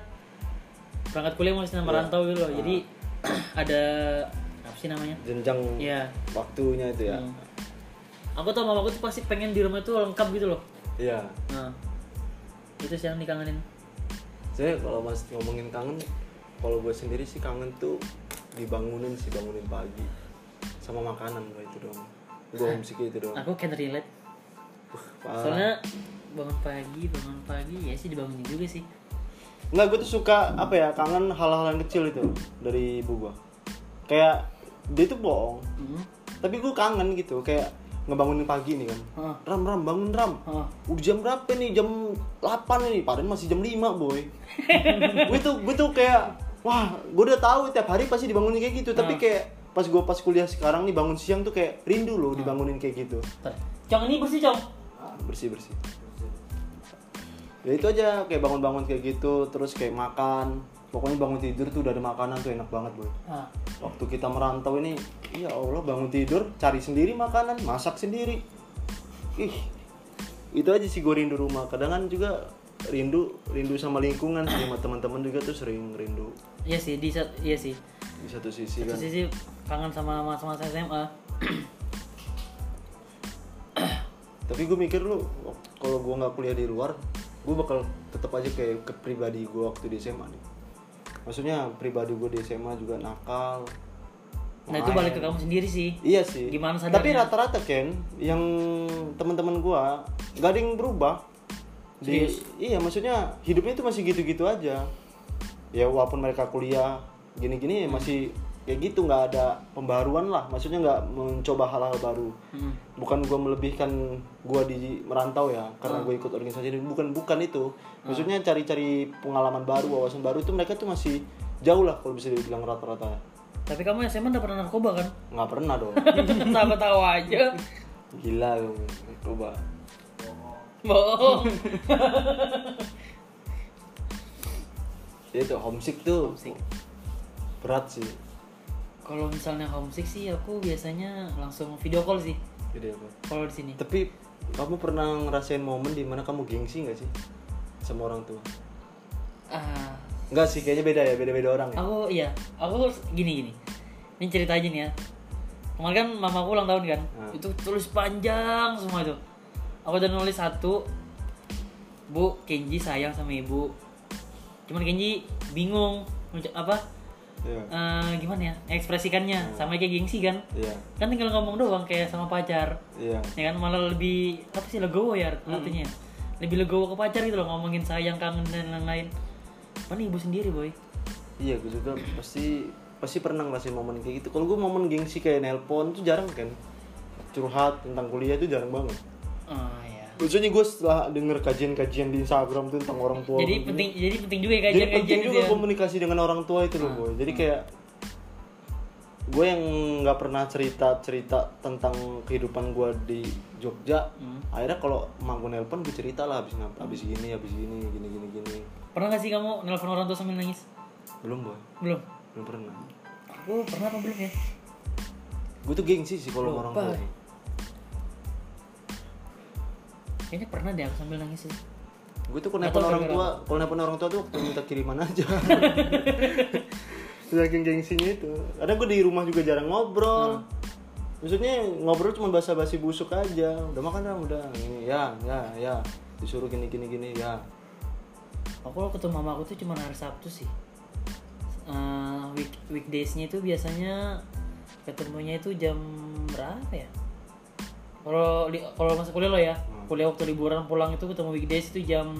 [SPEAKER 2] berangkat kuliah masih
[SPEAKER 1] Iya.
[SPEAKER 2] sama rantau gitu loh jadi ada apa sih namanya
[SPEAKER 1] Jenjang
[SPEAKER 2] Iya.
[SPEAKER 1] waktunya itu ya.
[SPEAKER 2] Hmm. aku tau mamaku tuh pasti pengen di rumah tuh lengkap gitu loh
[SPEAKER 1] Iya.
[SPEAKER 2] nah itu sih yang dikangenin
[SPEAKER 1] Saya kalau mas ngomongin kangen, kalau gue sendiri sih kangen tuh dibangunin sih bangunin pagi sama makanan gue itu doang. Gue homesick itu doang.
[SPEAKER 2] aku can relate
[SPEAKER 1] Parah.
[SPEAKER 2] Eh. Ah, soalnya bangun pagi bangun pagi ya sih dibangunin juga sih
[SPEAKER 1] Nggak, gue tuh suka apa ya kangen hal-hal yang kecil itu dari ibu gue. Kayak dia tuh bohong,
[SPEAKER 2] hmm.
[SPEAKER 1] tapi gue kangen gitu kayak ngebangunin pagi nih kan.
[SPEAKER 2] Heeh.
[SPEAKER 1] Ram ram bangun ram.
[SPEAKER 2] Heeh.
[SPEAKER 1] Udah jam berapa nih? Jam 8 nih. Padahal masih jam 5, boy. gue tuh gue tuh kayak wah, gue udah tahu tiap hari pasti dibangunin kayak gitu, tapi kayak pas gue pas kuliah sekarang nih bangun siang tuh kayak rindu loh dibangunin kayak gitu.
[SPEAKER 2] Bentar. cong ini bersih cong
[SPEAKER 1] Bersih-bersih. Ya itu aja kayak bangun-bangun kayak gitu, terus kayak makan. Pokoknya bangun tidur tuh udah ada makanan tuh enak banget, boy.
[SPEAKER 2] ah.
[SPEAKER 1] Waktu kita merantau ini, ya Allah bangun tidur, cari sendiri makanan, masak sendiri. Ih, itu aja sih gue rindu rumah. Kadang kan juga rindu rindu sama lingkungan sih, sama teman-teman juga tuh sering rindu
[SPEAKER 2] iya sih di sat- iya sih
[SPEAKER 1] di satu sisi kan.
[SPEAKER 2] satu sisi kangen sama masa-masa SMA
[SPEAKER 1] Tapi gue mikir lu kalau gue nggak kuliah di luar, gue bakal tetap aja kayak ke pribadi gue waktu di SMA nih. Maksudnya pribadi gue di SMA juga nakal.
[SPEAKER 2] Nah itu
[SPEAKER 1] Main.
[SPEAKER 2] balik ke kamu sendiri sih.
[SPEAKER 1] Iya sih.
[SPEAKER 2] Gimana sadarnya?
[SPEAKER 1] Tapi rata-rata Ken, yang teman-teman gua gak ada yang berubah. Di,
[SPEAKER 2] Serius?
[SPEAKER 1] iya, maksudnya hidupnya itu masih gitu-gitu aja. Ya walaupun mereka kuliah gini-gini ya
[SPEAKER 2] Hmm.
[SPEAKER 1] masih kayak gitu nggak ada pembaruan lah. Maksudnya nggak mencoba hal-hal baru.
[SPEAKER 2] Hmm.
[SPEAKER 1] Bukan gua melebihkan gua di merantau ya,
[SPEAKER 2] Hmm.
[SPEAKER 1] karena gua ikut organisasi ini bukan bukan itu. Maksudnya cari-cari pengalaman baru, wawasan baru itu mereka tuh masih jauh lah kalau bisa dibilang rata-rata.
[SPEAKER 2] Tapi kamu SMA udah pernah narkoba kan?
[SPEAKER 1] Nggak pernah dong.
[SPEAKER 2] Kenapa tawa aja?
[SPEAKER 1] Gila lu, coba.
[SPEAKER 2] Bohong.
[SPEAKER 1] Jadi itu homesick tuh.
[SPEAKER 2] Homesick.
[SPEAKER 1] Berat sih.
[SPEAKER 2] Kalau misalnya homesick sih aku biasanya langsung video call sih.
[SPEAKER 1] Gede apa?
[SPEAKER 2] Kalau di sini.
[SPEAKER 1] Tapi kamu pernah ngerasain momen di mana kamu gengsi nggak sih sama orang tua?
[SPEAKER 2] Ah,
[SPEAKER 1] Enggak sih, kayaknya beda ya, beda-beda orang ya.
[SPEAKER 2] aku iya, aku gini gini. Ini cerita aja nih ya. Kemarin kan mamaku ulang tahun kan.
[SPEAKER 1] Hmm.
[SPEAKER 2] Itu tulis panjang semua itu. Aku udah nulis satu. Bu, Kenji sayang sama ibu. Cuman Kenji bingung ngucap apa?
[SPEAKER 1] Iya.
[SPEAKER 2] eh, gimana ya? Ekspresikannya sama kayak gengsi kan.
[SPEAKER 1] Iya.
[SPEAKER 2] Kan tinggal ngomong doang kayak sama pacar.
[SPEAKER 1] Iya.
[SPEAKER 2] ya kan malah lebih apa sih legowo ya artinya ya? lebih legowo ke pacar gitu loh ngomongin sayang kangen dan lain-lain apa nih ibu sendiri boy
[SPEAKER 1] Iya, gue juga pasti pasti pernah ngerasain momen kayak gitu. Kalau gue momen gengsi kayak nelpon tuh jarang kan. Curhat tentang kuliah tuh jarang banget.
[SPEAKER 2] ah ya
[SPEAKER 1] Maksudnya gue setelah denger kajian-kajian di Instagram tuh tentang orang tua
[SPEAKER 2] jadi
[SPEAKER 1] begini,
[SPEAKER 2] penting jadi penting juga ya
[SPEAKER 1] jadi
[SPEAKER 2] kajian
[SPEAKER 1] penting
[SPEAKER 2] kajian gitu
[SPEAKER 1] juga
[SPEAKER 2] ya Hmm.
[SPEAKER 1] komunikasi dengan orang tua itu loh boy jadi kayak gue yang nggak pernah cerita cerita tentang kehidupan gue di Jogja
[SPEAKER 2] Hmm.
[SPEAKER 1] akhirnya kalau emang gue nelpon gue cerita lah habis ngapa habis gini habis gini gini gini gini
[SPEAKER 2] pernah gak sih kamu nelpon orang tua sambil nangis
[SPEAKER 1] belum boy
[SPEAKER 2] belum
[SPEAKER 1] belum pernah
[SPEAKER 2] aku pernah apa belum ya
[SPEAKER 1] gue tuh gengsi sih kalau sama orang
[SPEAKER 2] Lupa. ya?
[SPEAKER 1] tua
[SPEAKER 2] kayaknya pernah deh aku sambil nangis sih
[SPEAKER 1] gue tuh kalau nelpon
[SPEAKER 2] Atau
[SPEAKER 1] orang tua
[SPEAKER 2] gara-gara
[SPEAKER 1] kalau nelpon orang tua tuh waktu minta kiriman aja saking gengsinya itu ada gue di rumah juga jarang
[SPEAKER 2] Hmm.
[SPEAKER 1] ngobrol maksudnya ngobrol cuma basa-basi busuk aja udah makan dong udah ini ya ya ya disuruh gini gini gini ya
[SPEAKER 2] aku kalau ketemu mama aku tuh cuma hari Sabtu sih Eh, week weekdaysnya itu biasanya ketemunya itu jam berapa ya kalau li- kalau masuk kuliah lo ya kuliah waktu liburan pulang itu ketemu weekdays itu jam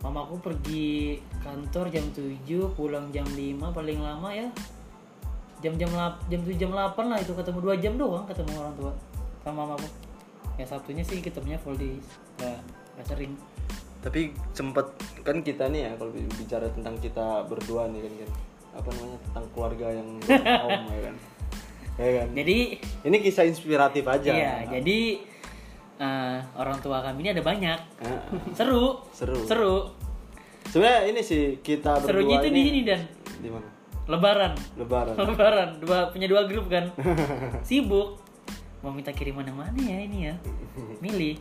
[SPEAKER 2] mama aku pergi kantor jam 7 pulang jam 5 paling lama ya jam-jam lap- jam 7 jam 8 lah itu ketemu dua jam doang ketemu orang tua sama mamaku ya Sabtunya sih ketemunya full di nggak nggak sering
[SPEAKER 1] tapi sempet kan kita nih ya kalau bicara tentang kita berdua nih kan kan apa namanya tentang keluarga yang om ya kan ya kan
[SPEAKER 2] jadi
[SPEAKER 1] ini kisah inspiratif aja
[SPEAKER 2] Iya, jadi eh, orang tua kami ini ada banyak.
[SPEAKER 1] Ah, ah.
[SPEAKER 2] Seru.
[SPEAKER 1] Seru.
[SPEAKER 2] Seru.
[SPEAKER 1] sebenarnya ini sih kita berdua
[SPEAKER 2] Serunya itu
[SPEAKER 1] ini
[SPEAKER 2] gitu di sini dan
[SPEAKER 1] di mana
[SPEAKER 2] lebaran.
[SPEAKER 1] lebaran
[SPEAKER 2] Lebaran, dua punya dua grup kan. Sibuk. Mau minta kiriman yang mana ya ini ya? Milih.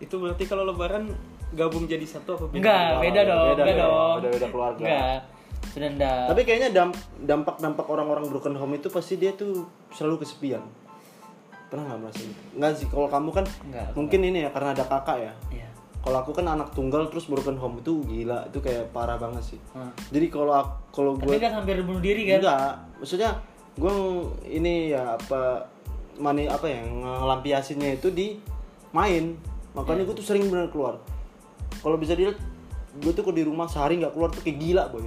[SPEAKER 3] Itu berarti kalau lebaran gabung jadi satu apa beda?
[SPEAKER 2] Enggak, beda dong,
[SPEAKER 1] Beda
[SPEAKER 2] beda,
[SPEAKER 1] dong,
[SPEAKER 2] dong.
[SPEAKER 1] beda-beda keluarga.
[SPEAKER 2] Enggak. Sudah enggak.
[SPEAKER 1] Tapi kayaknya damp- dampak-dampak orang-orang broken home itu pasti dia tuh selalu kesepian. Pernah nggak merasa gitu? Nggak sih, kalau kamu kan
[SPEAKER 2] Nggak, aku
[SPEAKER 1] mungkin ini ya karena ada kakak ya.
[SPEAKER 2] Iya.
[SPEAKER 1] Kalau aku kan anak tunggal terus broken home itu gila, itu kayak parah banget sih.
[SPEAKER 2] Hmm.
[SPEAKER 1] Jadi kalau ak- kalau
[SPEAKER 2] Tapi
[SPEAKER 1] gue
[SPEAKER 2] kan hampir bunuh diri kan?
[SPEAKER 1] enggak, maksudnya gue ng- ini ya apa mani apa ya ngelampiasinnya itu di main. Makanya
[SPEAKER 2] Iya.
[SPEAKER 1] gue tuh sering bener keluar. Kalau bisa dilihat gue tuh kalau di rumah sehari nggak keluar tuh kayak gila boy.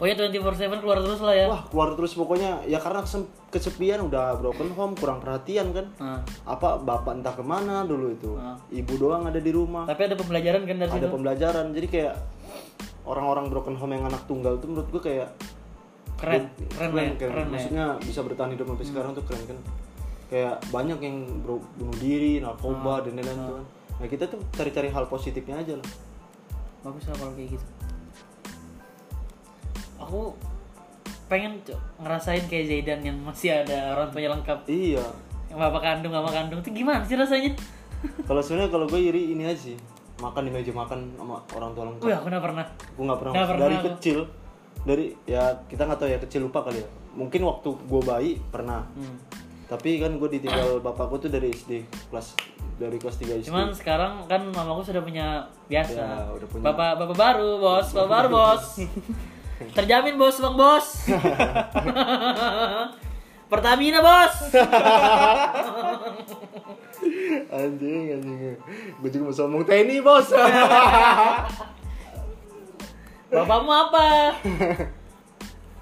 [SPEAKER 2] Pokoknya 24/7 keluar terus lah ya.
[SPEAKER 1] Wah keluar terus pokoknya ya karena kesem- kesepian udah broken home kurang perhatian kan
[SPEAKER 2] Nah,
[SPEAKER 1] apa bapak entah kemana dulu itu
[SPEAKER 2] Ah.
[SPEAKER 1] ibu doang ada di rumah
[SPEAKER 2] tapi ada pembelajaran kan dari
[SPEAKER 1] ada
[SPEAKER 2] situ?
[SPEAKER 1] pembelajaran jadi kayak orang-orang broken home yang anak tunggal itu menurut gue kayak
[SPEAKER 2] Keren, keren, lah ya,
[SPEAKER 1] keren,
[SPEAKER 2] keren, lah ya. Hmm.
[SPEAKER 1] maksudnya bisa bertahan hidup sampai sekarang tuh keren kan kayak banyak yang bro- bunuh diri
[SPEAKER 2] Ah.
[SPEAKER 1] narkoba dan lain-lain tuh kan. nah kita tuh cari-cari hal positifnya aja lah
[SPEAKER 2] bagus lah kalau kayak gitu aku pengen co- ngerasain kayak Zaidan yang masih ada orang tuanya lengkap
[SPEAKER 1] iya
[SPEAKER 2] yang bapak kandung mama kandung itu gimana sih rasanya
[SPEAKER 1] kalau sebenarnya kalau gue iri ini aja sih makan di meja makan sama orang tua lengkap
[SPEAKER 2] wih aku nggak pernah
[SPEAKER 1] gue nggak pernah,
[SPEAKER 2] Nggak pernah
[SPEAKER 1] dari
[SPEAKER 2] aku.
[SPEAKER 1] kecil dari ya kita nggak tahu ya kecil lupa kali ya mungkin waktu gue bayi pernah
[SPEAKER 2] Hmm.
[SPEAKER 1] tapi kan gue ditinggal bapakku tuh dari SD kelas dari kelas 3 SD
[SPEAKER 2] cuman Nah. sekarang kan mamaku sudah punya biasa
[SPEAKER 1] Ya, udah punya.
[SPEAKER 2] bapak bapak baru bos bapak baru bos terjamin bos bang bos Pertamina bos.
[SPEAKER 1] anjing anjing gue juga mau sombong TNI bos
[SPEAKER 2] Bapakmu apa?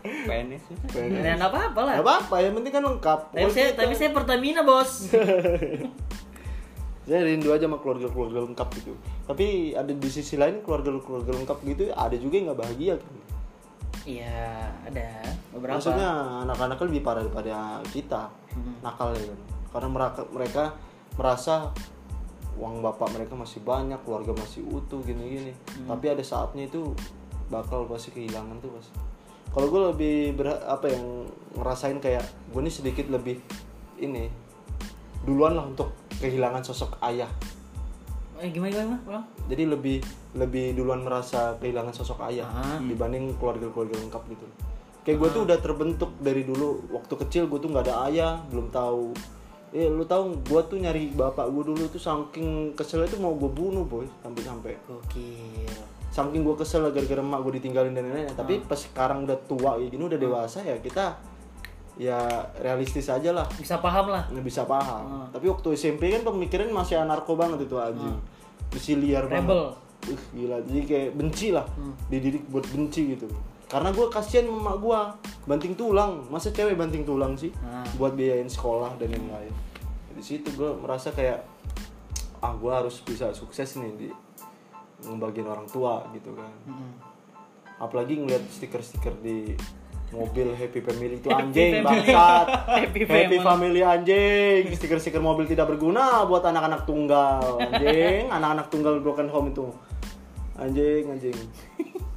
[SPEAKER 3] PNS ya.
[SPEAKER 1] Pengen.
[SPEAKER 2] Nah, apa apa lah.
[SPEAKER 1] Gak apa-apa yang penting kan lengkap
[SPEAKER 2] Tapi saya, tapi saya Pertamina bos.
[SPEAKER 1] saya rindu aja sama keluarga-keluarga lengkap gitu tapi ada di sisi lain keluarga-keluarga lengkap gitu ada juga yang nggak bahagia kan
[SPEAKER 2] Iya ada beberapa.
[SPEAKER 1] maksudnya anak-anaknya lebih parah daripada kita
[SPEAKER 2] Hmm.
[SPEAKER 1] nakal ya kan karena mereka mereka merasa uang bapak mereka masih banyak keluarga masih utuh gini-gini
[SPEAKER 2] Hmm.
[SPEAKER 1] tapi ada saatnya itu bakal pasti kehilangan tuh pasti kalau gue lebih ber- apa yang ngerasain kayak gue nih sedikit lebih ini duluan lah untuk kehilangan sosok ayah
[SPEAKER 2] Eh, gimana gimana gimana? ulang?
[SPEAKER 1] jadi lebih lebih duluan merasa kehilangan sosok ayah
[SPEAKER 2] Ah.
[SPEAKER 1] dibanding keluarga-keluarga lengkap gitu kayak gue tuh udah terbentuk dari dulu waktu kecil gue tuh nggak ada ayah belum tahu eh lu tahu gue tuh nyari bapak gue dulu tuh saking keselnya tuh mau gue bunuh boy sampai sampai
[SPEAKER 2] Gokil.
[SPEAKER 1] saking gue kesel gara-gara emak gue ditinggalin dan lain-lain tapi pas sekarang udah tua ya gini udah dewasa ya kita ya realistis aja lah
[SPEAKER 2] Bisa paham lah. Ah.
[SPEAKER 1] nggak bisa paham tapi waktu SMP kan pemikiran masih anarko banget itu anjing misi liar
[SPEAKER 2] Rebel. Hmm.
[SPEAKER 1] banget Ih, gila jadi kayak benci lah dididik buat benci gitu karena gue kasihan sama emak gue banting tulang masa cewek banting tulang sih
[SPEAKER 2] Ah.
[SPEAKER 1] buat biayain sekolah dan yang lain di situ gue merasa kayak ah gue harus bisa sukses nih di ngebagiin orang tua gitu kan
[SPEAKER 2] Mm-mm.
[SPEAKER 1] apalagi ngeliat stiker-stiker di mobil happy family itu
[SPEAKER 2] Happy
[SPEAKER 1] anjing
[SPEAKER 2] family.
[SPEAKER 1] bangsat
[SPEAKER 2] Happy
[SPEAKER 1] happy,
[SPEAKER 2] family.
[SPEAKER 1] family anjing stiker-stiker mobil tidak berguna buat anak-anak tunggal anjing anak-anak tunggal broken home itu anjing anjing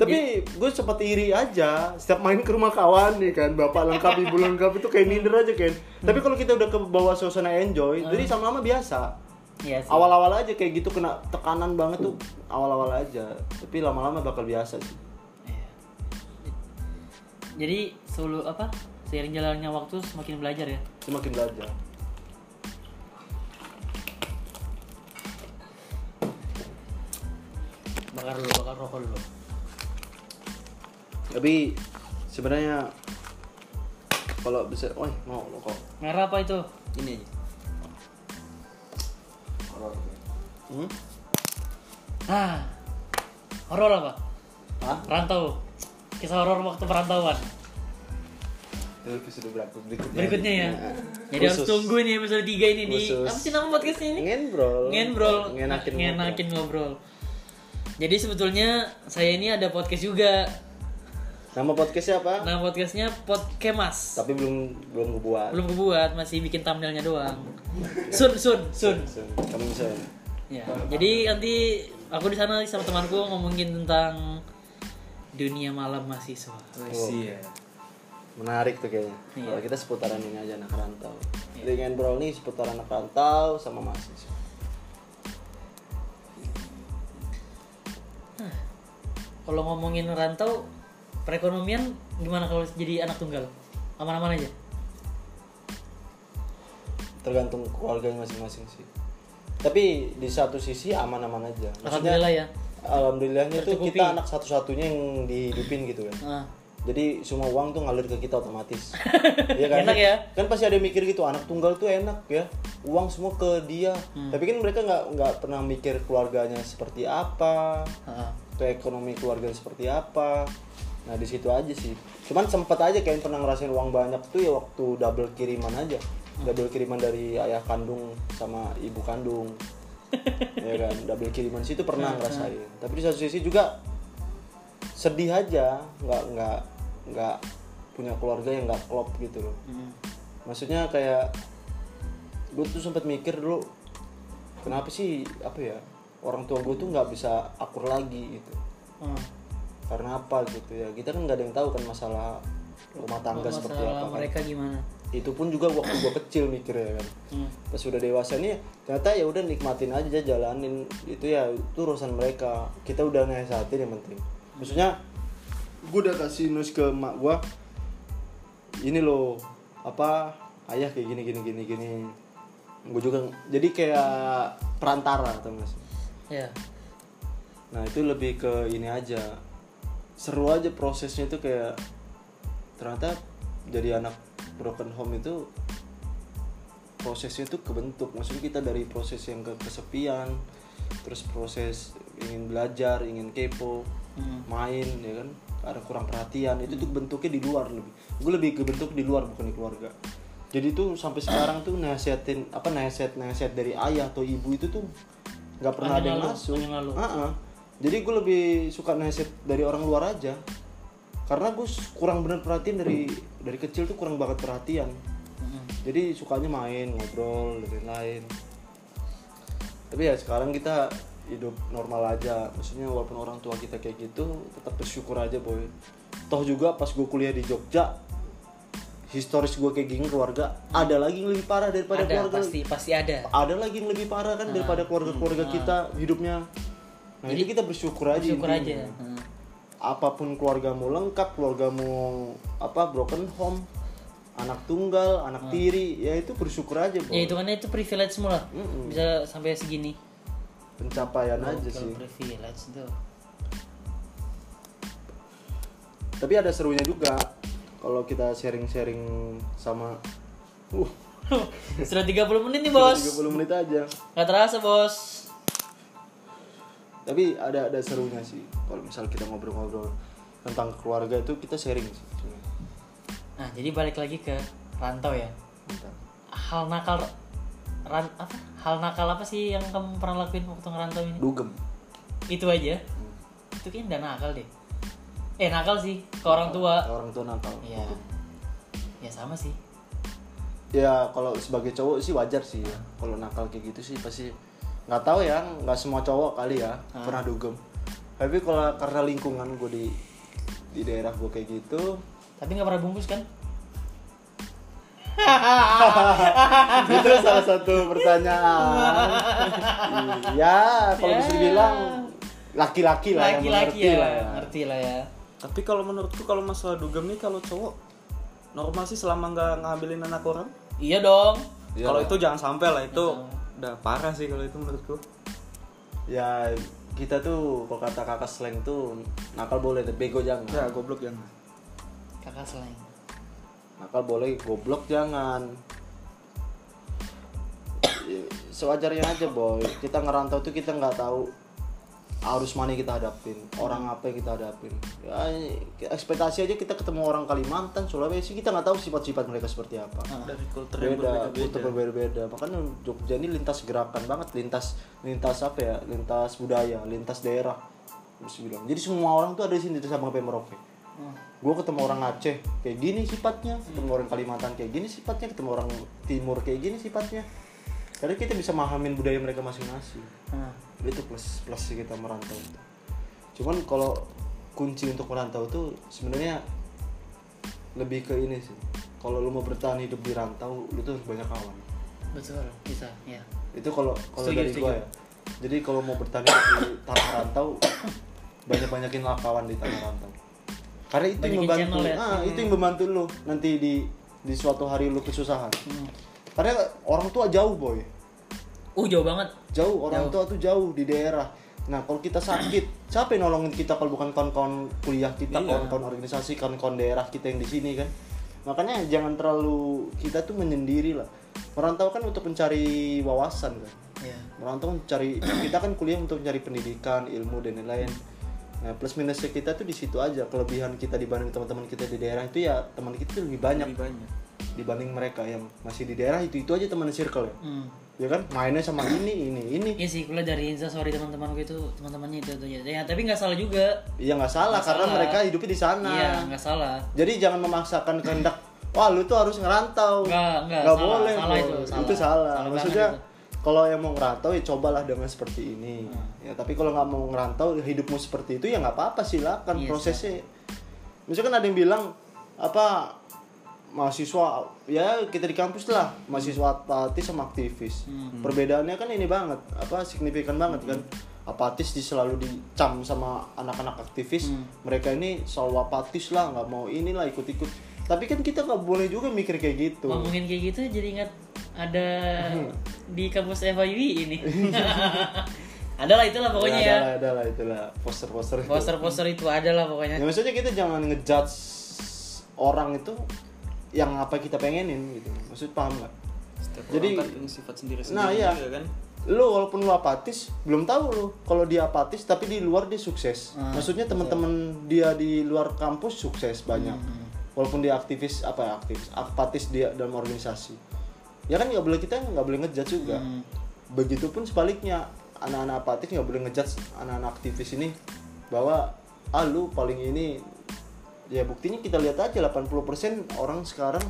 [SPEAKER 2] Iya.
[SPEAKER 1] tapi gue sempat iri aja setiap main ke rumah kawan nih kan bapak lengkap ibu lengkap itu kayak minder aja kan tapi kalau kita udah ke bawah suasana enjoy jadi sama-sama biasa
[SPEAKER 2] Iya sih.
[SPEAKER 1] awal-awal aja kayak gitu kena tekanan banget tuh awal-awal aja tapi lama-lama bakal biasa sih
[SPEAKER 2] Iya. Jadi selalu apa? Seiring jalannya waktu semakin belajar ya.
[SPEAKER 1] semakin belajar
[SPEAKER 2] Bakar dulu, bakar rokok dulu.
[SPEAKER 1] tapi sebenarnya kalau bisa wah mau lo kok
[SPEAKER 2] Merah apa itu?
[SPEAKER 3] Ini aja. Oh.
[SPEAKER 1] hmm?
[SPEAKER 2] Ah. Horor apa?
[SPEAKER 1] Hah?
[SPEAKER 2] Rantau. Kisah horor waktu perantauan.
[SPEAKER 1] Itu episode berapa berikutnya?
[SPEAKER 2] Berikutnya ya. Jadi harus
[SPEAKER 1] Nah, Khusus.
[SPEAKER 2] tungguin ya episode 3 ini di
[SPEAKER 1] Khusus.
[SPEAKER 2] apa sih nama podcastnya ini?
[SPEAKER 1] Ngenbrol.
[SPEAKER 2] Ngenbrol.
[SPEAKER 1] Ngenakin.
[SPEAKER 2] Ngenakin ngobrol. Jadi sebetulnya saya ini ada podcast juga.
[SPEAKER 1] Nama podcastnya apa?
[SPEAKER 2] Nama podcastnya Podkemas.
[SPEAKER 1] Tapi belum belum gue buat.
[SPEAKER 2] belum kebuat masih bikin thumbnailnya doang sun sun sun
[SPEAKER 1] So, Kamu bisa.
[SPEAKER 2] ya jadi nanti aku di sana sama temanku ngomongin tentang dunia malam mahasiswa
[SPEAKER 3] Iya.
[SPEAKER 1] Menarik tuh kayaknya.
[SPEAKER 2] Iya.
[SPEAKER 1] Kalau kita seputaran ini aja anak rantau. Jadi ngenbrol nih seputaran anak rantau sama mahasiswa.
[SPEAKER 2] kalau ngomongin rantau perekonomian gimana kalau jadi anak tunggal aman-aman aja
[SPEAKER 1] Tergantung keluarganya masing-masing sih. Tapi di satu sisi aman-aman aja. Maksudnya
[SPEAKER 2] alhamdulillah ya
[SPEAKER 1] alhamdulillahnya tuh
[SPEAKER 2] Tercukupi.
[SPEAKER 1] kita anak satu-satunya yang dihidupin gitu kan.
[SPEAKER 2] Ah,
[SPEAKER 1] Jadi semua uang tuh ngalir ke kita otomatis. Iya
[SPEAKER 2] Enak ya?
[SPEAKER 1] Kan pasti ada yang mikir gitu anak tunggal tuh enak ya. Uang semua ke dia.
[SPEAKER 2] Hmm.
[SPEAKER 1] Tapi kan mereka nggak nggak pernah mikir keluarganya seperti apa,
[SPEAKER 2] ah.
[SPEAKER 1] atau ekonomi keluarganya seperti apa. Nah di situ aja sih. Cuman sempat aja kayak pernah ngerasain uang banyak tuh ya waktu double kiriman aja. Double kiriman dari ayah kandung sama ibu kandung. ya kan, double kiriman situ pernah ngerasain. Tapi di satu sisi juga sedih aja nggak nggak nggak punya keluarga yang nggak klop gitu loh
[SPEAKER 2] Hmm.
[SPEAKER 1] maksudnya kayak gue tuh sempat mikir dulu kenapa sih apa ya orang tua gue tuh nggak bisa akur lagi gitu
[SPEAKER 2] Ah.
[SPEAKER 1] karena apa gitu ya kita kan nggak ada yang tahu kan masalah rumah tangga seperti apa
[SPEAKER 2] masalah
[SPEAKER 1] kan.
[SPEAKER 2] mereka gimana
[SPEAKER 1] itu pun juga waktu gue kecil mikirnya kan
[SPEAKER 2] Hmm.
[SPEAKER 1] pas sudah dewasa nih ternyata ya udah nikmatin aja jalanin itu ya itu urusan mereka kita udah nasehatin yang penting maksudnya gue udah kasih nus ke mak gue ini loh apa ayah kayak gini gini gini gini gue juga jadi kayak perantara atau mas
[SPEAKER 2] ya
[SPEAKER 1] nah itu lebih ke ini aja seru aja prosesnya itu kayak ternyata jadi anak broken home itu prosesnya itu kebentuk maksudnya kita dari proses yang ke kesepian terus proses ingin belajar ingin kepo main ya kan ada kurang perhatian itu tuh bentuknya di luar lebih gue lebih ke bentuk di luar bukan di keluarga jadi tuh sampai sekarang tuh nasihatin apa nasihat nasihat dari ayah atau ibu itu tuh nggak pernah ada
[SPEAKER 2] Hanya
[SPEAKER 1] yang
[SPEAKER 2] lalu,
[SPEAKER 1] masuk
[SPEAKER 2] hanya lalu.
[SPEAKER 1] Ah, ah. jadi gue lebih suka nasihat dari orang luar aja karena gue s- kurang bener perhatian dari dari kecil tuh kurang banget perhatian
[SPEAKER 2] Mm-mm.
[SPEAKER 1] jadi sukanya main ngobrol dan lain-lain tapi ya sekarang kita hidup normal aja maksudnya walaupun orang tua kita kayak gitu tetap bersyukur aja boy toh juga pas gue kuliah di Jogja historis gue kayak gini keluarga ada lagi yang lebih parah daripada
[SPEAKER 2] ada
[SPEAKER 1] keluarga
[SPEAKER 2] pasti pasti ada
[SPEAKER 1] ada lagi yang lebih parah kan
[SPEAKER 2] Ah,
[SPEAKER 1] daripada keluarga-keluarga
[SPEAKER 2] iya.
[SPEAKER 1] kita hidupnya nah jadi kita bersyukur aja
[SPEAKER 2] syukur
[SPEAKER 1] intinya
[SPEAKER 2] aja Mm.
[SPEAKER 1] apapun keluargamu lengkap, keluargamu apa broken home, anak tunggal, anak tiri, ya itu bersyukur aja, Bro.
[SPEAKER 2] Ah. ya itu kan itu privilege semua bisa sampai segini
[SPEAKER 1] Pencapaian aja
[SPEAKER 2] Kalau
[SPEAKER 1] sih.
[SPEAKER 2] privilege tuh
[SPEAKER 1] Tapi ada serunya juga kalau kita sharing-sharing sama uh
[SPEAKER 2] sudah 30 menit nih bos
[SPEAKER 1] 30 menit aja.
[SPEAKER 2] nggak terasa bos
[SPEAKER 1] Tapi ada ada serunya sih kalau misal kita ngobrol-ngobrol tentang keluarga itu kita sharing sih. sebenarnya.
[SPEAKER 2] nah jadi balik lagi ke rantau ya
[SPEAKER 1] Tentang
[SPEAKER 2] hal nakal ran apa hal nakal apa sih yang kamu pernah lakuin waktu ngerantau ini
[SPEAKER 1] Dugem.
[SPEAKER 2] itu aja itu kayaknya udah nakal deh eh nakal sih ke orang tua
[SPEAKER 1] Orang tua nakal.
[SPEAKER 2] ya ya sama sih
[SPEAKER 1] ya kalau sebagai cowok sih wajar sih ya kalau nakal kayak gitu sih pasti nggak tahu ya nggak semua cowok kali ya
[SPEAKER 2] Hmm.
[SPEAKER 1] pernah dugem tapi kalau karena lingkungan gue di di daerah gue kayak gitu
[SPEAKER 2] tapi nggak pernah bungkus kan
[SPEAKER 1] itu salah satu pertanyaan iya kalau bisa dibilang laki-laki lah yang
[SPEAKER 2] Ya. laki-laki
[SPEAKER 1] mengerti
[SPEAKER 2] ya
[SPEAKER 1] lah ya.
[SPEAKER 2] ngerti lah ya
[SPEAKER 3] Tapi kalau menurutku kalau masalah dugem nih kalau cowok normal sih selama nggak ngambilin anak orang.
[SPEAKER 2] iya dong
[SPEAKER 1] Iya
[SPEAKER 3] kalau
[SPEAKER 1] lah.
[SPEAKER 3] itu jangan sampai lah itu udah parah sih kalau itu menurutku.
[SPEAKER 1] ya kita tuh kalau kata kakak slang tuh nakal boleh tapi bego jangan
[SPEAKER 3] Ya goblok jangan.
[SPEAKER 2] kakak selain
[SPEAKER 1] nakal boleh goblok jangan Ya, sewajarnya aja boy kita ngerantau tuh kita nggak tahu arus mana yang kita hadapin orang apa yang kita hadapin ya, ekspektasi aja kita ketemu orang Kalimantan Sulawesi kita nggak tahu sifat-sifat mereka seperti apa
[SPEAKER 3] Dari kultur yang
[SPEAKER 1] beda
[SPEAKER 3] berbeda.
[SPEAKER 1] kultur berbeda makanya Jogja ini lintas gerakan banget lintas lintas apa ya lintas budaya lintas daerah terus bilang jadi semua orang tuh ada di sini sama kayak Merauke
[SPEAKER 2] Hmm.
[SPEAKER 1] gue ketemu orang Aceh kayak gini sifatnya ketemu orang Kalimantan kayak gini sifatnya ketemu orang Timur kayak gini sifatnya karena kita bisa memahamin budaya mereka masing-masing
[SPEAKER 2] Nah,
[SPEAKER 1] itu plus plus kita merantau cuman kalau kunci untuk merantau tuh sebenarnya lebih ke ini sih kalau lu mau bertahan hidup di rantau lu tuh harus banyak kawan
[SPEAKER 2] betul bisa ya
[SPEAKER 1] itu kalau kalau
[SPEAKER 2] Setuju,
[SPEAKER 1] dari gua
[SPEAKER 2] setuju.
[SPEAKER 1] ya jadi kalau mau bertahan hidup di tanah rantau banyak banyakin lah kawan di tanah rantau karena itu yang
[SPEAKER 2] Banyakin
[SPEAKER 1] membantu
[SPEAKER 2] channel ya.
[SPEAKER 1] ah, itu yang membantu lu nanti di di suatu hari lu kesusahan
[SPEAKER 2] Hmm.
[SPEAKER 1] karena orang tua jauh boy
[SPEAKER 2] uh jauh banget
[SPEAKER 1] jauh orang tua tuh jauh di daerah nah kalau kita sakit siapa yang nolongin kita kalau bukan kawan-kawan kuliah kita
[SPEAKER 2] Iya.
[SPEAKER 1] kawan-kawan organisasi kawan-kawan daerah kita yang di sini kan makanya jangan terlalu kita tuh menyendiri lah merantau kan untuk mencari wawasan kan
[SPEAKER 2] ya
[SPEAKER 1] merantau mencari kita kan kuliah untuk mencari pendidikan ilmu dan lain-lain nah plus minusnya kita tuh di situ aja kelebihan kita dibanding teman-teman kita di daerah itu ya teman kita tuh lebih banyak
[SPEAKER 3] Lebih banyak.
[SPEAKER 1] dibanding mereka yang masih di daerah itu itu aja teman circle ya
[SPEAKER 2] hmm.
[SPEAKER 1] ya kan mainnya sama ini ini ini
[SPEAKER 2] Iya sih, kalau dari Insta sorry teman-teman gue itu teman-temannya itu itu aja. Ya, tapi nggak salah juga.
[SPEAKER 1] Iya nggak salah
[SPEAKER 2] Nggak
[SPEAKER 1] karena
[SPEAKER 2] salah.
[SPEAKER 1] mereka hidupnya di
[SPEAKER 3] Nah.
[SPEAKER 1] sana.
[SPEAKER 2] Iya, nggak salah.
[SPEAKER 1] Jadi jangan memaksakan kehendak. Wah lu tuh harus ngerantau.
[SPEAKER 2] Nggak, nggak, salah,
[SPEAKER 1] boleh.
[SPEAKER 2] salah
[SPEAKER 1] Boy.
[SPEAKER 2] itu, salah.
[SPEAKER 1] salah.
[SPEAKER 2] Salah
[SPEAKER 1] Maksudnya
[SPEAKER 2] banget
[SPEAKER 1] kalau yang mau ngerantau ya cobalah dengan seperti ini. Ya tapi kalau nggak mau ngerantau hidupmu seperti itu ya nggak apa-apa silakan
[SPEAKER 2] Iya,
[SPEAKER 1] prosesnya. Misalkan ada yang bilang apa mahasiswa ya kita di kampus lah mahasiswa apatis sama aktivis perbedaannya kan ini banget apa signifikan banget kan apatis di selalu dicam sama anak-anak aktivis mereka ini selalu apatis lah nggak mau inilah ikut-ikut tapi kan kita nggak boleh juga mikir kayak gitu
[SPEAKER 2] Ngomongin kayak gitu jadi ingat ada di kampus FIB ini. adalah itulah pokoknya ya.
[SPEAKER 1] adalah adalah itulah poster-poster itu.
[SPEAKER 2] ya. Poster-poster itu adalah pokoknya.
[SPEAKER 1] Ya maksudnya kita jangan ngejudge orang itu yang apa kita pengenin gitu maksud paham nggak
[SPEAKER 3] Setiap
[SPEAKER 1] Jadi-
[SPEAKER 3] orang kan punya sifat sendiri-sendiri
[SPEAKER 1] Nah, iya.
[SPEAKER 3] juga kan.
[SPEAKER 1] lu walaupun lu apatis belum tahu lu kalau dia apatis tapi di luar dia sukses
[SPEAKER 2] Ah,
[SPEAKER 1] maksudnya teman-teman dia di luar kampus sukses banyak
[SPEAKER 2] Hmm,
[SPEAKER 1] walaupun dia aktivis apa ya aktivis apatis dia dalam organisasi ya kan nggak boleh kita nggak boleh ngejudge juga
[SPEAKER 2] Hmm.
[SPEAKER 1] begitupun sebaliknya anak-anak apatis nggak boleh ngejudge anak-anak aktivis ini bahwa ah lu paling ini ya buktinya kita lihat aja 80% orang sekarang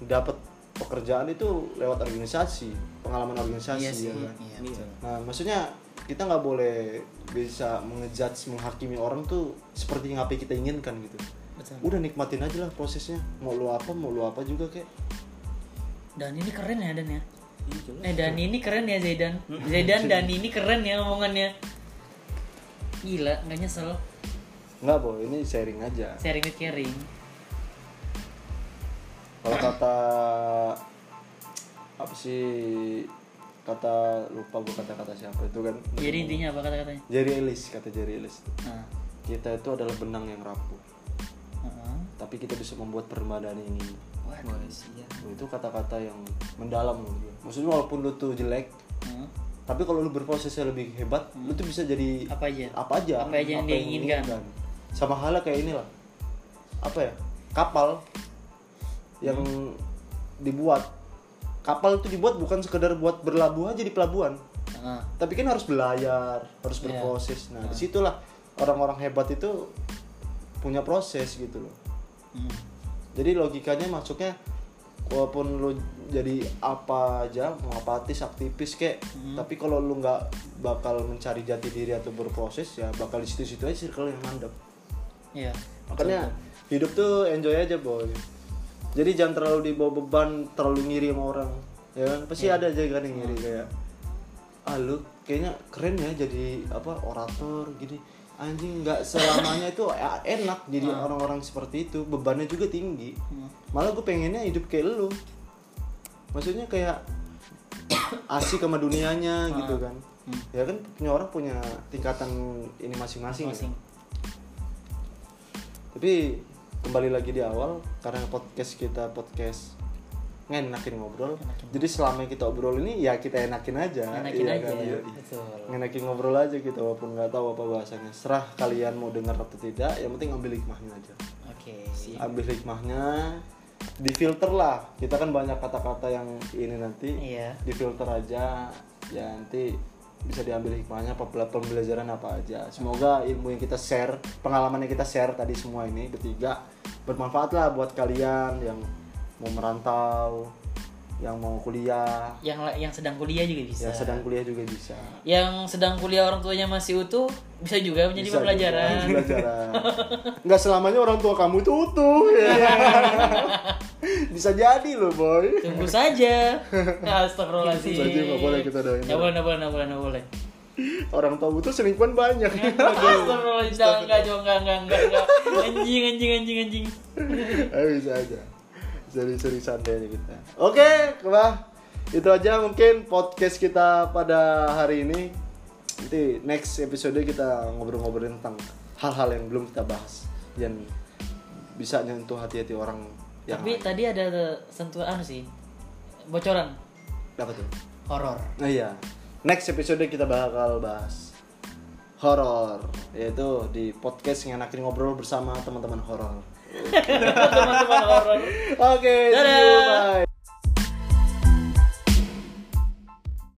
[SPEAKER 1] dapat pekerjaan itu lewat organisasi pengalaman organisasi
[SPEAKER 2] Iya sih.
[SPEAKER 1] ya kan?
[SPEAKER 2] Iya, betul.
[SPEAKER 1] Nah, maksudnya kita nggak boleh bisa mengejudge, menghakimi orang tuh seperti yang apa yang kita inginkan gitu.
[SPEAKER 2] Betul.
[SPEAKER 1] Udah nikmatin aja lah prosesnya. Mau lu apa, mau lu apa juga kek.
[SPEAKER 2] Dan ini keren ya Dan ya.
[SPEAKER 3] Iya, jelas.
[SPEAKER 2] Eh Dan ini keren ya Zaidan. Zaidan Dan ini keren ya omongannya. Gila, nggak nyesel.
[SPEAKER 1] Nggak, Bo. Ini sharing aja.
[SPEAKER 2] Sharing with caring.
[SPEAKER 1] Kalau kata apa sih kata lupa gue kata-kata siapa itu kan
[SPEAKER 3] Mm.
[SPEAKER 2] Jadi intinya apa kata-katanya?
[SPEAKER 1] Jerry Ellis kata Jerry Ellis
[SPEAKER 2] Nah.
[SPEAKER 1] kita itu adalah benang yang rapuh
[SPEAKER 2] Heeh.
[SPEAKER 1] tapi kita bisa membuat permadani ini
[SPEAKER 3] Wah, iya.
[SPEAKER 1] Loh, itu kata-kata yang mendalam loh. maksudnya walaupun lu tuh jelek
[SPEAKER 2] Heeh.
[SPEAKER 1] tapi kalau lu berprosesnya lebih hebat lu tuh bisa jadi
[SPEAKER 2] Apa aja?
[SPEAKER 1] apa aja
[SPEAKER 2] Hmm. Apa aja yang dia
[SPEAKER 1] lu
[SPEAKER 2] inginkan.
[SPEAKER 1] sama halnya kayak inilah apa ya kapal yang
[SPEAKER 2] Hmm.
[SPEAKER 1] dibuat kapal itu dibuat bukan sekedar buat berlabuh aja di pelabuhan
[SPEAKER 2] Heeh.
[SPEAKER 1] tapi kan harus belayar harus
[SPEAKER 2] Iya.
[SPEAKER 1] berproses nah disitulah orang-orang hebat itu punya proses gitu loh
[SPEAKER 2] Hmm.
[SPEAKER 1] jadi logikanya masuknya walaupun lu jadi apa aja mau apatis aktivis kek tapi kalau lu nggak bakal mencari jati diri atau berproses ya bakal di situ-situ aja circle yang mandek
[SPEAKER 2] Iya.
[SPEAKER 1] makanya hidup tuh enjoy aja boy jadi jangan terlalu dibawa beban terlalu ngiri sama orang ya kan pasti ada aja kan yang ngiri kayak ah lu kayaknya keren ya jadi apa orator gini anjing nggak selamanya itu ya enak jadi orang-orang seperti itu bebannya juga tinggi malah gue pengennya hidup kayak lu maksudnya kayak asik sama dunianya gitu kan ya kan punya orang punya tingkatan ini masing-masing ya.
[SPEAKER 2] Masing.
[SPEAKER 1] Tapi kembali lagi di awal karena podcast kita podcast ngenakin ngobrol. Jadi selama yang kita obrol ini ya kita enakin aja.
[SPEAKER 2] Enakin
[SPEAKER 1] Iya
[SPEAKER 2] aja.
[SPEAKER 1] kan? Iya.
[SPEAKER 2] Betul.
[SPEAKER 1] Ngenakin ngobrol aja kita walaupun nggak tahu apa bahasanya. Serah kalian mau dengar atau tidak, yang penting ambil hikmahnya aja.
[SPEAKER 2] Oke.
[SPEAKER 1] Ambil hikmahnya difilter lah. Kita kan banyak kata-kata yang ini nanti
[SPEAKER 2] Iya.
[SPEAKER 1] difilter aja ya nanti bisa diambil hikmahnya apa pela- pembelajaran apa aja semoga ilmu yang kita share pengalaman yang kita share tadi semua ini bertiga bermanfaat lah buat kalian yang mau merantau yang mau kuliah
[SPEAKER 2] Yang la- yang sedang kuliah juga bisa.
[SPEAKER 1] yang sedang kuliah juga bisa
[SPEAKER 2] Yang sedang kuliah orang tuanya masih utuh bisa juga menjadi
[SPEAKER 1] Bisa juga,
[SPEAKER 2] pembelajaran.
[SPEAKER 1] pembelajaran nggak selamanya orang tua kamu itu utuh ya. bisa jadi loh boy
[SPEAKER 2] Tunggu saja.
[SPEAKER 1] Tunggu saja,
[SPEAKER 2] Astagfirullahaladzim.
[SPEAKER 1] nggak boleh kita doain.
[SPEAKER 2] Nggak boleh, nggak boleh, nggak boleh, nggak boleh.
[SPEAKER 1] orang tua utuh selingkuhan banyak
[SPEAKER 2] Iya. Astagfirullahaladzim. Jangan, Nggak, jangan, nggak, nggak, nggak, nggak. Anjing, anjing, anjing, anjing.
[SPEAKER 1] Ayo bisa aja. Seri-seri santai aja kita. Oke, kebah. Itu aja mungkin podcast kita pada hari ini. Nanti next episode kita ngobrol-ngobrolin tentang hal-hal yang belum kita bahas yang bisa nyentuh hati-hati orang yang
[SPEAKER 2] Tapi tadi ada sentuhan anu sih. Bocoran.
[SPEAKER 1] dapat tuh.
[SPEAKER 2] Horor.
[SPEAKER 1] Nah, iya. Next episode kita bakal bahas horor yaitu di podcast ngenakin ngobrol bersama teman-teman horor.
[SPEAKER 2] Teman-teman horor.
[SPEAKER 1] Oke, see you.
[SPEAKER 2] Dadah.